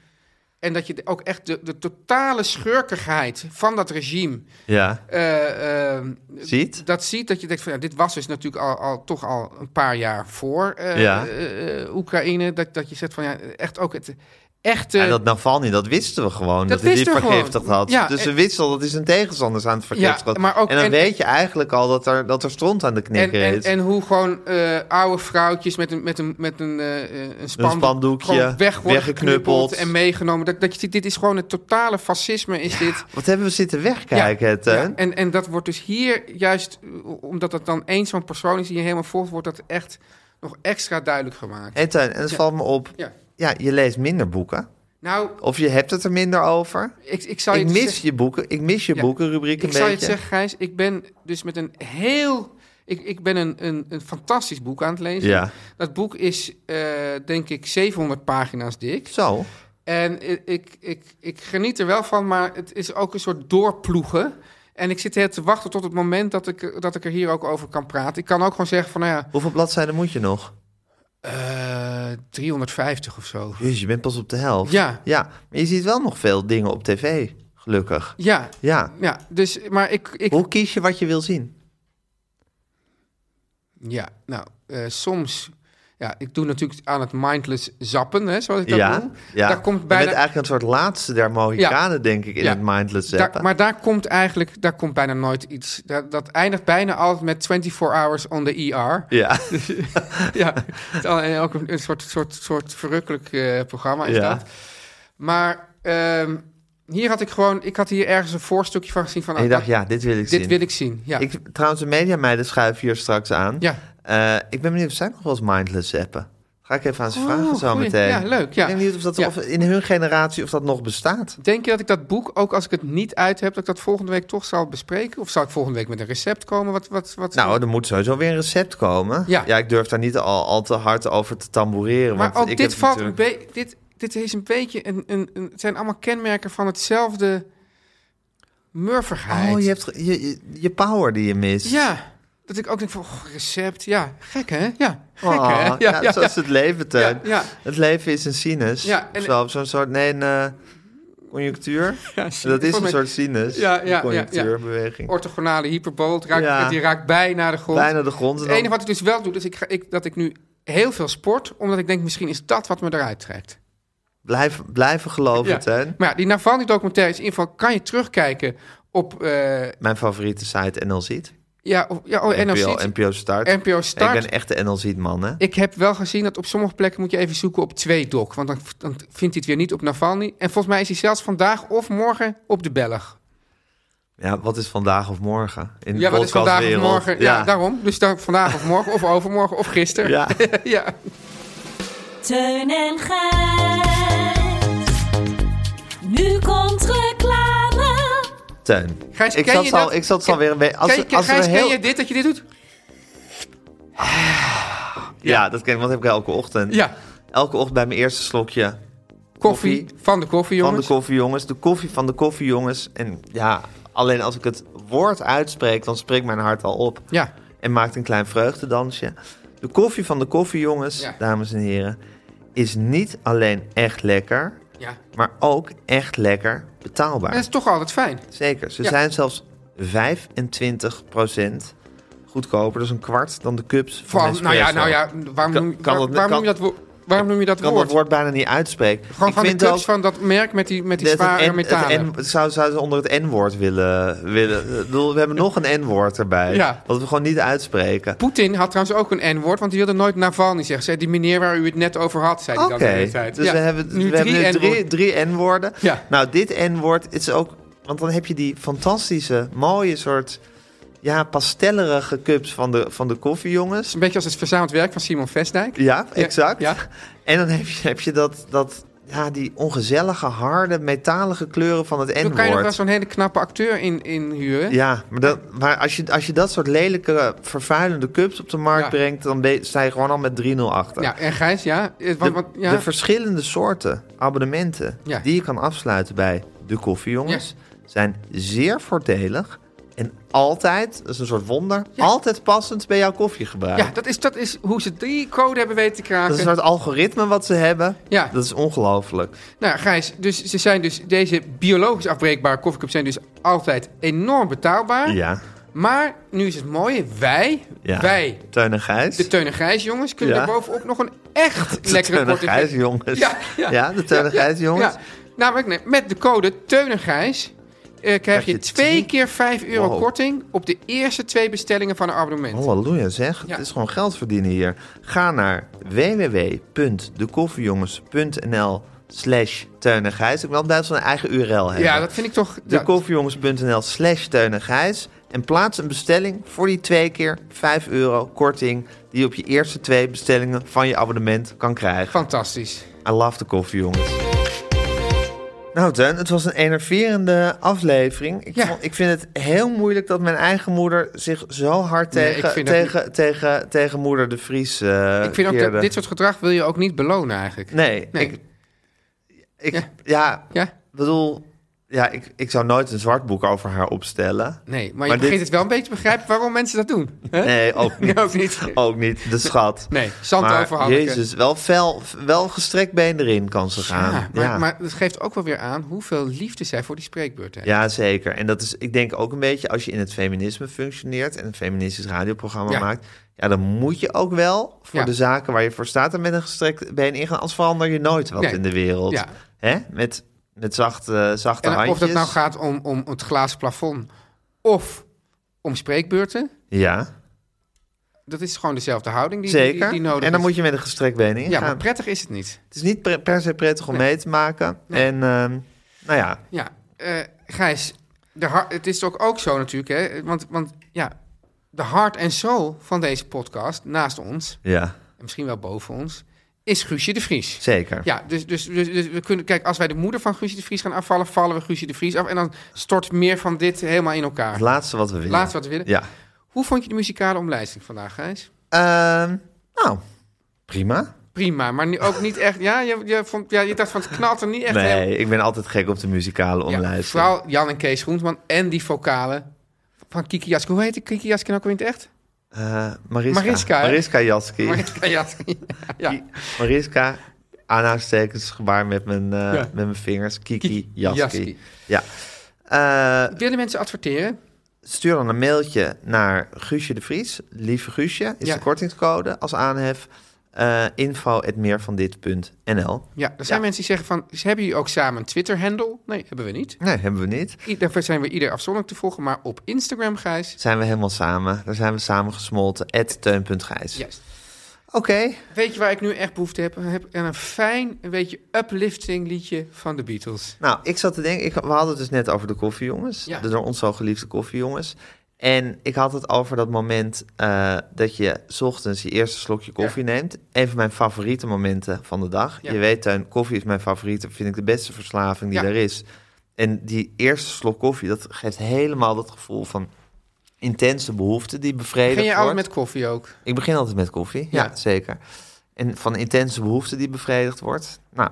[SPEAKER 2] en dat je de- ook echt de, de totale schurkigheid van dat regime...
[SPEAKER 1] Ja,
[SPEAKER 2] eh, eh,
[SPEAKER 1] ziet?
[SPEAKER 2] dat ziet, dat je denkt van ja, dit was dus natuurlijk al, al toch al een paar jaar voor eh,
[SPEAKER 1] Ja.
[SPEAKER 2] eh, eh, Oekraïne. Dat, dat je zegt van ja, echt ook het echte.
[SPEAKER 1] en dat Navalny, dat wisten we gewoon. Dat,
[SPEAKER 2] dat
[SPEAKER 1] hij die
[SPEAKER 2] wisten we gewoon.
[SPEAKER 1] vergiftigd had.
[SPEAKER 2] Ja,
[SPEAKER 1] dus
[SPEAKER 2] en-
[SPEAKER 1] we wisten al, dat is een tegenstander aan het vergiftigen.
[SPEAKER 2] Ja, maar ook-
[SPEAKER 1] en dan
[SPEAKER 2] en-
[SPEAKER 1] weet je eigenlijk al dat er, dat er stront aan de
[SPEAKER 2] en,
[SPEAKER 1] knikker
[SPEAKER 2] en,
[SPEAKER 1] is.
[SPEAKER 2] en hoe gewoon eh, oude vrouwtjes met een, met een, met een, eh, eh, een, spandoek,
[SPEAKER 1] spandoekje,
[SPEAKER 2] gewoon weg worden
[SPEAKER 1] weggeknuppeld.
[SPEAKER 2] geknuppeld en meegenomen. Dat, dat je ziet, dit is gewoon het totale fascisme is dit.
[SPEAKER 1] Wat hebben we zitten wegkijken, hè, Teun?
[SPEAKER 2] Ja, en, en dat wordt dus hier juist, eh, omdat dat dan één zo'n persoon is die je helemaal volgt, wordt dat echt nog extra duidelijk gemaakt.
[SPEAKER 1] Hé, Teun, en het valt me op.
[SPEAKER 2] Ja.
[SPEAKER 1] Ja, je leest minder boeken.
[SPEAKER 2] Nou,
[SPEAKER 1] Of je hebt het er minder over.
[SPEAKER 2] ik, ik zou
[SPEAKER 1] Ik
[SPEAKER 2] je
[SPEAKER 1] mis
[SPEAKER 2] het zeggen-
[SPEAKER 1] je boeken. Ik mis je
[SPEAKER 2] Ja.
[SPEAKER 1] boekenrubriek een
[SPEAKER 2] Ik zou je het
[SPEAKER 1] beetje.
[SPEAKER 2] zeggen, Gijs, ik ben dus met een heel... Ik, ik ben een, een, een fantastisch boek aan het lezen.
[SPEAKER 1] Ja.
[SPEAKER 2] Dat boek is, eh, denk ik, 700 pagina's dik.
[SPEAKER 1] Zo.
[SPEAKER 2] En i- ik, ik, ik geniet er wel van, maar het is ook een soort doorploegen. En ik zit heel te wachten tot het moment dat ik, dat ik er hier ook over kan praten. Ik kan ook gewoon zeggen van, nou ja,
[SPEAKER 1] Hoeveel bladzijden moet je nog?
[SPEAKER 2] eh, 350 of zo.
[SPEAKER 1] Jezus, je bent pas op de helft.
[SPEAKER 2] Ja.
[SPEAKER 1] Ja, maar je ziet wel nog veel dingen op tv, gelukkig.
[SPEAKER 2] Ja,
[SPEAKER 1] Ja.
[SPEAKER 2] ja dus, maar ik... ik
[SPEAKER 1] Hoe kies je wat je wil zien?
[SPEAKER 2] Ja, nou, eh, soms... Ja, ik doe natuurlijk aan het mindless zappen, hè, zoals ik dat noem. Daar
[SPEAKER 1] Je
[SPEAKER 2] komt bijna,
[SPEAKER 1] bent eigenlijk een soort laatste der Mohikanen, denk ik, in
[SPEAKER 2] Ja.
[SPEAKER 1] het mindless
[SPEAKER 2] daar-
[SPEAKER 1] zappen.
[SPEAKER 2] maar daar komt eigenlijk daar komt bijna nooit iets. Dat, dat eindigt bijna altijd met 24 hours on the ER.
[SPEAKER 1] Ja.
[SPEAKER 2] Dus ja, het is al- en ook eh, een, een soort, soort, soort verrukkelijk eh, programma is
[SPEAKER 1] Ja.
[SPEAKER 2] dat. Maar ehm, Hier had ik gewoon, ik had hier ergens een voorstukje van gezien van.
[SPEAKER 1] En je
[SPEAKER 2] ah,
[SPEAKER 1] dacht,
[SPEAKER 2] dat-
[SPEAKER 1] ja, dit wil ik zien.
[SPEAKER 2] Dit wil ik zien. Ja.
[SPEAKER 1] Ik, trouwens, de mediameiden schuiven hier straks aan.
[SPEAKER 2] Ja.
[SPEAKER 1] Eh, ik ben benieuwd of zij nog wel eens mindless appen. Ga ik even aan ze
[SPEAKER 2] Oh,
[SPEAKER 1] vragen zo
[SPEAKER 2] goeie.
[SPEAKER 1] meteen.
[SPEAKER 2] Ja, leuk, ja.
[SPEAKER 1] Ik ben benieuwd of dat
[SPEAKER 2] Ja.
[SPEAKER 1] of in hun generatie of dat nog bestaat.
[SPEAKER 2] Denk je dat ik dat boek, ook als ik het niet uit heb, dat ik dat volgende week toch zal bespreken? Of zal ik volgende week met een recept komen? Wat, wat, wat,
[SPEAKER 1] Nou, er moet sowieso weer een recept komen.
[SPEAKER 2] Ja.
[SPEAKER 1] ik durf daar niet al, al te hard over te tamboureren.
[SPEAKER 2] maar
[SPEAKER 1] want
[SPEAKER 2] ook
[SPEAKER 1] ik
[SPEAKER 2] dit
[SPEAKER 1] heb
[SPEAKER 2] valt
[SPEAKER 1] natuurlijk-
[SPEAKER 2] een beetje. Dit, dit is een beetje een, een, een. Het zijn allemaal kenmerken van hetzelfde murvigheid.
[SPEAKER 1] Oh, je hebt ge- je, je, je power die je mist.
[SPEAKER 2] Ja. Dat ik ook denk van, goh, recept. Ja, gek hè? Ja, gek
[SPEAKER 1] Oh,
[SPEAKER 2] hè? Ja,
[SPEAKER 1] ja, zo is het leven, Teun.
[SPEAKER 2] Ja, ja.
[SPEAKER 1] Het leven is een sinus.
[SPEAKER 2] Ja, en-
[SPEAKER 1] Of zo, zo'n soort, nee, een eh, conjunctuur. dat is een
[SPEAKER 2] mij-
[SPEAKER 1] soort sinus.
[SPEAKER 2] Ja, ja, ja, ja.
[SPEAKER 1] een conjunctuurbeweging.
[SPEAKER 2] Orthogonale hyperbool. Het raakt,
[SPEAKER 1] Ja.
[SPEAKER 2] het- Die raakt bijna de grond.
[SPEAKER 1] Bijna de grond. en
[SPEAKER 2] Het
[SPEAKER 1] dan-
[SPEAKER 2] enige wat ik dus wel doe, is ik ga, ik, dat ik nu heel veel sport. Omdat ik denk, misschien is dat wat me eruit trekt.
[SPEAKER 1] Blijf, blijven geloven,
[SPEAKER 2] Ja.
[SPEAKER 1] Teun.
[SPEAKER 2] Maar ja, die Navalny-documentaire is in ieder geval... kan je terugkijken op... eh,
[SPEAKER 1] Mijn favoriete site, NL Ziet.
[SPEAKER 2] ja, of- ja, oh, NRC.
[SPEAKER 1] NPO, NPO Start.
[SPEAKER 2] NPO Start.
[SPEAKER 1] Ik ben echt de NL Ziet man, hè?
[SPEAKER 2] Ik heb wel gezien dat op sommige plekken moet je even zoeken op 2doc. Want dan, dan vindt hij het weer niet op Navalny. En volgens mij is hij zelfs vandaag of morgen op de Belg.
[SPEAKER 1] Ja, wat is vandaag of morgen? In de
[SPEAKER 2] Ja, wat is vandaag of
[SPEAKER 1] podcastwereld.
[SPEAKER 2] morgen? Ja, daarom. Dus dan vandaag of morgen of overmorgen of gisteren.
[SPEAKER 1] Ja.
[SPEAKER 2] ja.
[SPEAKER 4] Teun en Gijs. Nu komt reclame.
[SPEAKER 1] Teun.
[SPEAKER 2] Gijs,
[SPEAKER 1] ik,
[SPEAKER 2] ken
[SPEAKER 1] zat
[SPEAKER 2] je
[SPEAKER 1] zal,
[SPEAKER 2] dat-
[SPEAKER 1] ik zat alweer een beetje... Als,
[SPEAKER 2] Ken- ken-
[SPEAKER 1] als we
[SPEAKER 2] Gijs,
[SPEAKER 1] heel...
[SPEAKER 2] ken je dit, dat je dit doet?
[SPEAKER 1] Ja, dat ken ik, want dat heb ik elke ochtend.
[SPEAKER 2] Ja.
[SPEAKER 1] Elke ochtend bij mijn eerste slokje
[SPEAKER 2] Koffie.
[SPEAKER 1] Koffie.
[SPEAKER 2] Van de koffie, jongens.
[SPEAKER 1] van de koffiejongens. De koffie van de koffiejongens. En ja, alleen als ik het woord uitspreek, dan spreekt mijn hart al op.
[SPEAKER 2] Ja.
[SPEAKER 1] En maakt een klein vreugdedansje. De koffie van de koffiejongens,
[SPEAKER 2] Ja.
[SPEAKER 1] dames en heren, is niet alleen echt lekker,
[SPEAKER 2] ja.
[SPEAKER 1] maar ook echt lekker betaalbaar.
[SPEAKER 2] Dat is toch altijd fijn.
[SPEAKER 1] Zeker. Ze
[SPEAKER 2] Ja.
[SPEAKER 1] zijn zelfs 25% goedkoper. Dus een kwart dan de cups van,
[SPEAKER 2] Van, nou ja,
[SPEAKER 1] Nespresso.
[SPEAKER 2] nou ja, waarom,
[SPEAKER 1] Kan-
[SPEAKER 2] noem,
[SPEAKER 1] kan
[SPEAKER 2] waar-
[SPEAKER 1] dat-
[SPEAKER 2] waarom
[SPEAKER 1] kan-
[SPEAKER 2] noem je dat, wo- waarom noem je dat
[SPEAKER 1] Ik kan
[SPEAKER 2] woord?
[SPEAKER 1] dat woord bijna niet uitspreken.
[SPEAKER 2] Gewoon
[SPEAKER 1] Ik
[SPEAKER 2] van de
[SPEAKER 1] vind
[SPEAKER 2] cups
[SPEAKER 1] ook-
[SPEAKER 2] van dat merk met die, met die
[SPEAKER 1] Dat het
[SPEAKER 2] zware
[SPEAKER 1] N-
[SPEAKER 2] metalen.
[SPEAKER 1] het N- zou, zou ze onder het N-woord willen. willen. Ik bedoel, we hebben nog een N-woord erbij.
[SPEAKER 2] Ja.
[SPEAKER 1] Wat we gewoon niet uitspreken.
[SPEAKER 2] Poetin had trouwens ook een N-woord, want die wilde nooit Navalny zeggen. Zei die meneer waar u het net over had, zei hij
[SPEAKER 1] Oké,
[SPEAKER 2] dan de hele tijd.
[SPEAKER 1] dus
[SPEAKER 2] Ja,
[SPEAKER 1] we hebben,
[SPEAKER 2] nu
[SPEAKER 1] we hebben nu
[SPEAKER 2] N-woorden.
[SPEAKER 1] drie, drie N-woorden.
[SPEAKER 2] Ja.
[SPEAKER 1] Nou, dit N-woord is ook... Want dan heb je die fantastische, mooie soort... Ja, pastellerige cups van de, van de koffiejongens.
[SPEAKER 2] Een beetje als het verzameld werk van Simon Vestdijk.
[SPEAKER 1] Ja, exact.
[SPEAKER 2] ja.
[SPEAKER 1] En dan heb je, heb je dat, dat, ja, die ongezellige, harde, metalige kleuren van het
[SPEAKER 2] Toen kan je nog wel
[SPEAKER 1] N-woord.
[SPEAKER 2] zo'n hele knappe acteur in, in huren.
[SPEAKER 1] Ja, maar, dat, maar als, je, als je dat soort lelijke, vervuilende cups op de markt
[SPEAKER 2] Ja.
[SPEAKER 1] brengt, dan ben je- sta je gewoon al met 3-0 achter.
[SPEAKER 2] Ja, en Gijs, ja. eh,
[SPEAKER 1] De,
[SPEAKER 2] Want, want, ja.
[SPEAKER 1] de verschillende soorten abonnementen
[SPEAKER 2] Ja.
[SPEAKER 1] die je kan afsluiten bij de koffiejongens zijn zeer voordelig en altijd, dat is een soort wonder, altijd passend bij jouw koffiegebruik.
[SPEAKER 2] ja, dat is, dat is hoe ze die code hebben weten te kraken.
[SPEAKER 1] dat is een soort algoritme wat ze hebben.
[SPEAKER 2] Ja.
[SPEAKER 1] Dat is ongelooflijk.
[SPEAKER 2] Nou, Gijs, dus ze zijn dus deze biologisch afbreekbare koffiecups zijn dus altijd enorm betaalbaar.
[SPEAKER 1] Ja.
[SPEAKER 2] Maar nu is het mooie, wij,
[SPEAKER 1] ja.
[SPEAKER 2] wij,
[SPEAKER 1] Teun en Gijs.
[SPEAKER 2] de Teun en Gijs jongens, kunnen
[SPEAKER 1] Ja.
[SPEAKER 2] daar bovenop nog een echt
[SPEAKER 1] De
[SPEAKER 2] lekkere
[SPEAKER 1] Teun en
[SPEAKER 2] korting
[SPEAKER 1] Gijs
[SPEAKER 2] geven.
[SPEAKER 1] jongens.
[SPEAKER 2] Ja, ja.
[SPEAKER 1] de Teun en
[SPEAKER 2] Ja,
[SPEAKER 1] Gijs jongens.
[SPEAKER 2] Ja. Namelijk, nee, met de code Teun en Gijs eh, krijg je
[SPEAKER 1] je
[SPEAKER 2] twee
[SPEAKER 1] drie-
[SPEAKER 2] keer 5 euro
[SPEAKER 1] Wow. Oh,
[SPEAKER 2] korting op de eerste twee bestellingen van een abonnement.
[SPEAKER 1] Halleluja zeg,
[SPEAKER 2] Ja.
[SPEAKER 1] het is gewoon geld verdienen hier. Ga naar www.dekoffiejongens.nl slash Teun en Gijs. Ik wil altijd zo'n eigen URL hebben.
[SPEAKER 2] Ja, dat vind ik toch... ja,
[SPEAKER 1] Dekoffiejongens.nl slash Teun en Gijs. En plaats een bestelling voor die twee keer 5 euro korting... die je op je eerste twee bestellingen van je abonnement kan krijgen.
[SPEAKER 2] Fantastisch.
[SPEAKER 1] I love de koffie, jongens. Nou, Teun, het was een enerverende aflevering. Ik,
[SPEAKER 2] Ja.
[SPEAKER 1] vond- ik vind het heel moeilijk dat mijn eigen moeder zich zo hard
[SPEAKER 2] Nee, ik
[SPEAKER 1] tegen,
[SPEAKER 2] vind dat
[SPEAKER 1] tegen, tegen, tegen moeder de Vries eh
[SPEAKER 2] ik vind ook
[SPEAKER 1] keerde.
[SPEAKER 2] dat dit soort gedrag wil je ook niet belonen eigenlijk.
[SPEAKER 1] Nee,
[SPEAKER 2] Nee.
[SPEAKER 1] ik... ik
[SPEAKER 2] Ja.
[SPEAKER 1] ja.
[SPEAKER 2] Ja?
[SPEAKER 1] bedoel... Ja, ik, ik zou nooit een zwart boek over haar opstellen.
[SPEAKER 2] Nee, maar
[SPEAKER 1] Maar
[SPEAKER 2] je begint
[SPEAKER 1] dit-
[SPEAKER 2] het wel een beetje te begrijpen waarom mensen dat doen. hè?
[SPEAKER 1] Nee, ook niet.
[SPEAKER 2] ook niet.
[SPEAKER 1] Ook niet, de schat.
[SPEAKER 2] Nee, zand
[SPEAKER 1] maar,
[SPEAKER 2] over Hanneke.
[SPEAKER 1] Jezus, wel, fel, wel gestrekt been erin kan ze gaan.
[SPEAKER 2] Ja, Ah, maar,
[SPEAKER 1] Ja.
[SPEAKER 2] maar dat geeft ook wel weer aan hoeveel liefde zij voor die spreekbeurt heeft.
[SPEAKER 1] Ja, zeker. En dat is, ik denk ook een beetje, als je in het feminisme functioneert en een feministisch radioprogramma
[SPEAKER 2] Ja.
[SPEAKER 1] maakt, ja, dan moet je ook wel voor
[SPEAKER 2] Ja.
[SPEAKER 1] de zaken waar je voor staat en met een gestrekt been ingaan. Anders verander je nooit wat
[SPEAKER 2] Nee.
[SPEAKER 1] in de wereld.
[SPEAKER 2] Ja.
[SPEAKER 1] Hè? Met, met zachte, zachte
[SPEAKER 2] En
[SPEAKER 1] handjes.
[SPEAKER 2] of dat nou gaat om, om het glazen plafond of om spreekbeurten,
[SPEAKER 1] Ja,
[SPEAKER 2] dat is gewoon dezelfde houding die,
[SPEAKER 1] zeker.
[SPEAKER 2] die, die nodig
[SPEAKER 1] en dan
[SPEAKER 2] is.
[SPEAKER 1] moet je met een gestrekt been ingaan.
[SPEAKER 2] Ja, maar prettig is het niet.
[SPEAKER 1] Het is niet per, per se prettig om mee te maken. En, ehm, nou ja,
[SPEAKER 2] Ja. eh, Gijs, de har- het is toch ook zo natuurlijk, hè? Want, want ja, de hart en soul van deze podcast, naast ons,
[SPEAKER 1] Ja,
[SPEAKER 2] en misschien wel boven ons, is Guusje de Vries.
[SPEAKER 1] zeker.
[SPEAKER 2] Ja, dus, dus, dus, dus we kunnen, kijk, als wij de moeder van Guusje de Vries gaan afvallen, vallen we Guusje de Vries af. En dan stort meer van dit helemaal in elkaar.
[SPEAKER 1] Het laatste wat we willen.
[SPEAKER 2] Laatste wat we willen.
[SPEAKER 1] Ja.
[SPEAKER 2] Hoe vond je de muzikale omlijsting vandaag, Gijs?
[SPEAKER 1] Ehm, nou, prima.
[SPEAKER 2] Prima, maar nu ook niet echt. Ja, je, je, vond, ja, je dacht van het knalt er niet echt helemaal-
[SPEAKER 1] Nee, ik ben altijd gek op de muzikale
[SPEAKER 2] Ja,
[SPEAKER 1] omlijsting.
[SPEAKER 2] vooral Jan en Kees Groensman en die vocalen van Kiki Jaske. Hoe heet die Kiki Jaske nou ook weer in het echt?
[SPEAKER 1] Eh, Mariska.
[SPEAKER 2] Mariska, hè?
[SPEAKER 1] Mariska Jaski.
[SPEAKER 2] Mariska Jaske. Ja.
[SPEAKER 1] Ki- Mariska, aanhalingstekens, gebaar met mijn, eh, met mijn vingers. Kiki
[SPEAKER 2] Kiki Jaski.
[SPEAKER 1] Jaski. Ja. Eh,
[SPEAKER 2] Willen mensen adverteren?
[SPEAKER 1] stuur dan een mailtje naar Guusje de Vries. Lieve Guusje is
[SPEAKER 2] Ja.
[SPEAKER 1] de kortingscode als aanhef. eh info.meervandit.nl
[SPEAKER 2] Ja, er zijn
[SPEAKER 1] Ja.
[SPEAKER 2] mensen die zeggen van, "Ze- hebben jullie ook samen een Twitter-handle? Nee, hebben we niet.
[SPEAKER 1] Nee, hebben we niet.
[SPEAKER 2] I- Daarvoor zijn we ieder afzonderlijk te volgen, maar op Instagram, Gijs.
[SPEAKER 1] Zijn we helemaal samen. Daar zijn we samen gesmolten. At teun.gijs.
[SPEAKER 2] Juist.
[SPEAKER 1] Oké.
[SPEAKER 2] Weet je waar ik nu echt behoefte heb? heb aan een fijn, een beetje uplifting liedje van de Beatles.
[SPEAKER 1] Nou, ik zat te denken, ik, we hadden het dus net over de koffiejongens.
[SPEAKER 2] Ja.
[SPEAKER 1] De door ons zo geliefde koffiejongens. En ik had het over dat moment eh, dat je 's ochtends je eerste slokje koffie neemt. Een van mijn favoriete momenten van de dag.
[SPEAKER 2] Ja.
[SPEAKER 1] Je weet, Tuin, koffie is mijn favoriete, vind ik de beste verslaving die
[SPEAKER 2] Ja.
[SPEAKER 1] er is. En die eerste slok koffie, dat geeft helemaal dat gevoel van intense behoefte die bevredigd
[SPEAKER 2] Begin je
[SPEAKER 1] wordt.
[SPEAKER 2] altijd met koffie ook?
[SPEAKER 1] Ik begin altijd met koffie, ja,
[SPEAKER 2] Ja.
[SPEAKER 1] zeker. En van intense behoefte die bevredigd wordt. Nou,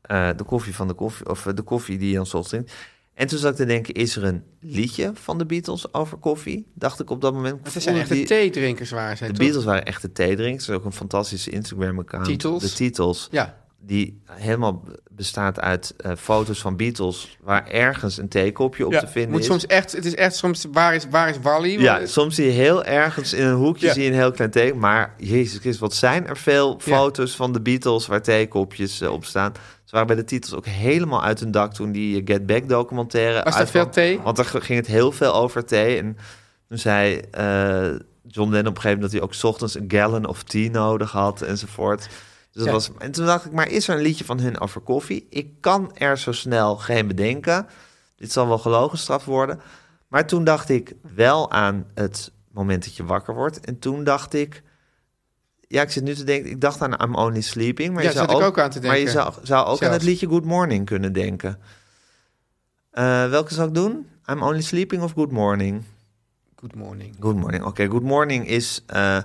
[SPEAKER 1] eh, de koffie van de koffie, of eh, de koffie die je dan 's ochtends drinkt. En toen zat ik te denken, is er een liedje van de Beatles over koffie? Dacht ik op dat moment.
[SPEAKER 2] Want ze zijn
[SPEAKER 1] Oeh,
[SPEAKER 2] echt de
[SPEAKER 1] die-
[SPEAKER 2] theedrinkers waar ze
[SPEAKER 1] de Beatles waren echte theedrinkers. Er is ook een fantastische Instagram-account.
[SPEAKER 2] Titels.
[SPEAKER 1] De Titels.
[SPEAKER 2] Ja,
[SPEAKER 1] Die helemaal b- bestaat uit eh, foto's van Beatles... waar ergens een theekopje op
[SPEAKER 2] Ja,
[SPEAKER 1] te vinden
[SPEAKER 2] moet
[SPEAKER 1] is.
[SPEAKER 2] soms echt, het is echt soms, waar is, waar is Wally?
[SPEAKER 1] Ja, soms zie je heel ergens in een hoekje
[SPEAKER 2] Ja.
[SPEAKER 1] zie je een heel klein teken. Maar Jezus Christus, wat zijn er veel foto's van de Beatles waar tekenkopjes eh, op staan. Ze waren bij de titels ook helemaal uit hun dak toen die eh, Get Back documentaire
[SPEAKER 2] Was daar
[SPEAKER 1] uitkwam.
[SPEAKER 2] veel thee?
[SPEAKER 1] Want daar g- ging het heel veel over thee. En toen zei eh, John Lennon op een gegeven moment dat hij ook 's ochtends een gallon of tea nodig had enzovoort. Dus dat
[SPEAKER 2] Ja.
[SPEAKER 1] was, en toen dacht ik, maar is er een liedje van hun over koffie? Ik kan er zo snel geen bedenken. Dit zal wel gelogen straf worden. Maar toen dacht ik wel aan het moment dat je wakker wordt. En toen dacht ik... Ja, ik zit nu te denken... Ik dacht aan I'm Only Sleeping. Maar
[SPEAKER 2] Ja,
[SPEAKER 1] je zou
[SPEAKER 2] zat ik
[SPEAKER 1] ook,
[SPEAKER 2] ook aan te
[SPEAKER 1] Maar je
[SPEAKER 2] denken.
[SPEAKER 1] zou, zou ook aan
[SPEAKER 2] Zelfs.
[SPEAKER 1] het liedje Good Morning kunnen denken. Eh, welke zou ik doen? I'm Only Sleeping of Good Morning?
[SPEAKER 2] Good morning.
[SPEAKER 1] Good Morning. Oké, Good Morning is eh,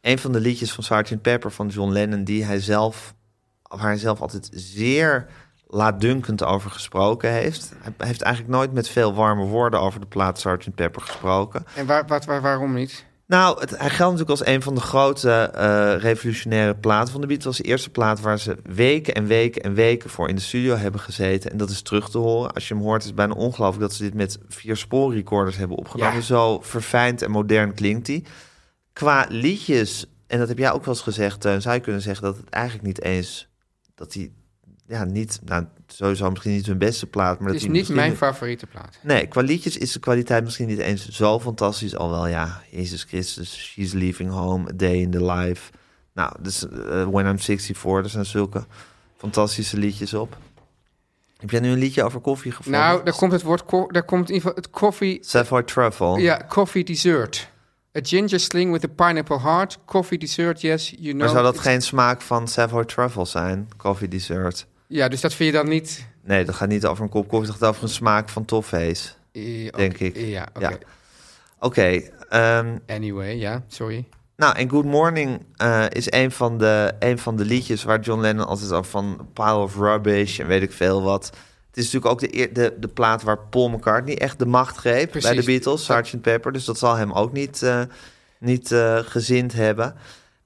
[SPEAKER 1] een van de liedjes van Sgt. Pepper van John Lennon... die hij zelf, waar hij zelf altijd zeer laatdunkend over gesproken heeft. Hij heeft eigenlijk nooit met veel warme woorden over de plaat Sgt. Pepper gesproken.
[SPEAKER 2] En waar, wat, waar, waarom niet?
[SPEAKER 1] Nou, het, hij geldt natuurlijk als een van de grote eh, revolutionaire platen van de Beatles. Het was de eerste plaat waar ze weken en weken en weken voor in de studio hebben gezeten. En dat is terug te horen. Als je hem hoort, is het bijna ongelooflijk dat ze dit met vier spoorrecorders hebben opgenomen.
[SPEAKER 2] Ja.
[SPEAKER 1] Zo verfijnd en modern klinkt hij. Qua liedjes, en dat heb jij ook wel eens gezegd, Teun, zou je kunnen zeggen dat het eigenlijk niet eens... Dat hij, ja, niet... Nou, sowieso misschien niet hun beste plaat, maar
[SPEAKER 2] Het
[SPEAKER 1] dat
[SPEAKER 2] is
[SPEAKER 1] hij
[SPEAKER 2] niet
[SPEAKER 1] misschien-
[SPEAKER 2] mijn favoriete plaat.
[SPEAKER 1] Nee, qua liedjes is de kwaliteit misschien niet eens zo fantastisch. Al wel, ja, Jezus Christus, She's Leaving Home, A Day in the Life. Nou, dus eh, When I'm 64, er zijn zulke fantastische liedjes op. Heb jij nu een liedje over koffie gevonden?
[SPEAKER 2] Nou, daar komt het woord, ko- daar komt in ieder geval het koffie,
[SPEAKER 1] Savoy Truffle.
[SPEAKER 2] ja, coffee dessert. A ginger sling with a pineapple heart, coffee dessert, yes, you know.
[SPEAKER 1] maar zou dat
[SPEAKER 2] it's-
[SPEAKER 1] geen smaak van Savoy Truffle zijn? Coffee dessert.
[SPEAKER 2] Ja, dus dat vind je dan niet...
[SPEAKER 1] Nee, dat gaat niet over een kop koffie, dat gaat over een smaak van toffees.
[SPEAKER 2] eh, oké,
[SPEAKER 1] Denk ik.
[SPEAKER 2] Ja, oké.
[SPEAKER 1] Ja. Oké, ehm
[SPEAKER 2] Anyway, ja, sorry.
[SPEAKER 1] Nou, en Good Morning eh, is een van, de, een van de liedjes waar John Lennon altijd al van Pile of Rubbish en weet ik veel wat. Het is natuurlijk ook de, eer- de, de plaat waar Paul McCartney echt de macht greep
[SPEAKER 2] Precies.
[SPEAKER 1] bij de Beatles, Sgt. Pepper. Dus dat zal hem ook niet, eh, niet eh, gezind hebben.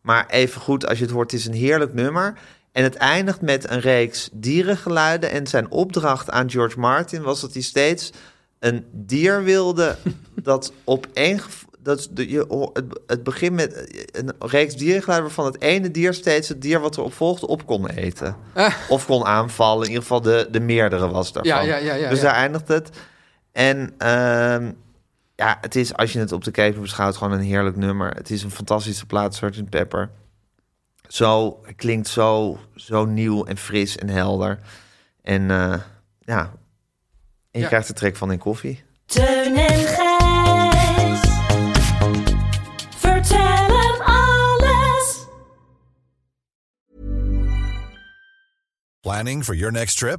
[SPEAKER 1] Maar even goed, als je het hoort, het is een heerlijk nummer. En het eindigt met een reeks dierengeluiden. En zijn opdracht aan George Martin was dat hij steeds een dier wilde dat op één gev- dat de, je, ho- het, het begin met eh, een reeks dierengeluiden waarvan het ene dier steeds het dier wat erop volgde op kon eten. Of kon aanvallen. In ieder geval de, de meerdere was daarvan.
[SPEAKER 2] Ah. Ja, ja, ja, ja,
[SPEAKER 1] dus
[SPEAKER 2] ja.
[SPEAKER 1] daar eindigt het. En ehm, ja, het is, als je het op de keper beschouwt, gewoon een heerlijk nummer. Het is een fantastische plaat, Sgt. Pepper. Zo, het klinkt zo, zo nieuw en fris en helder. En eh, ja, En je
[SPEAKER 2] Ja.
[SPEAKER 1] krijgt de trek van in koffie.
[SPEAKER 4] Teun en Gijs. Vertel hem alles.
[SPEAKER 7] Planning for your next trip?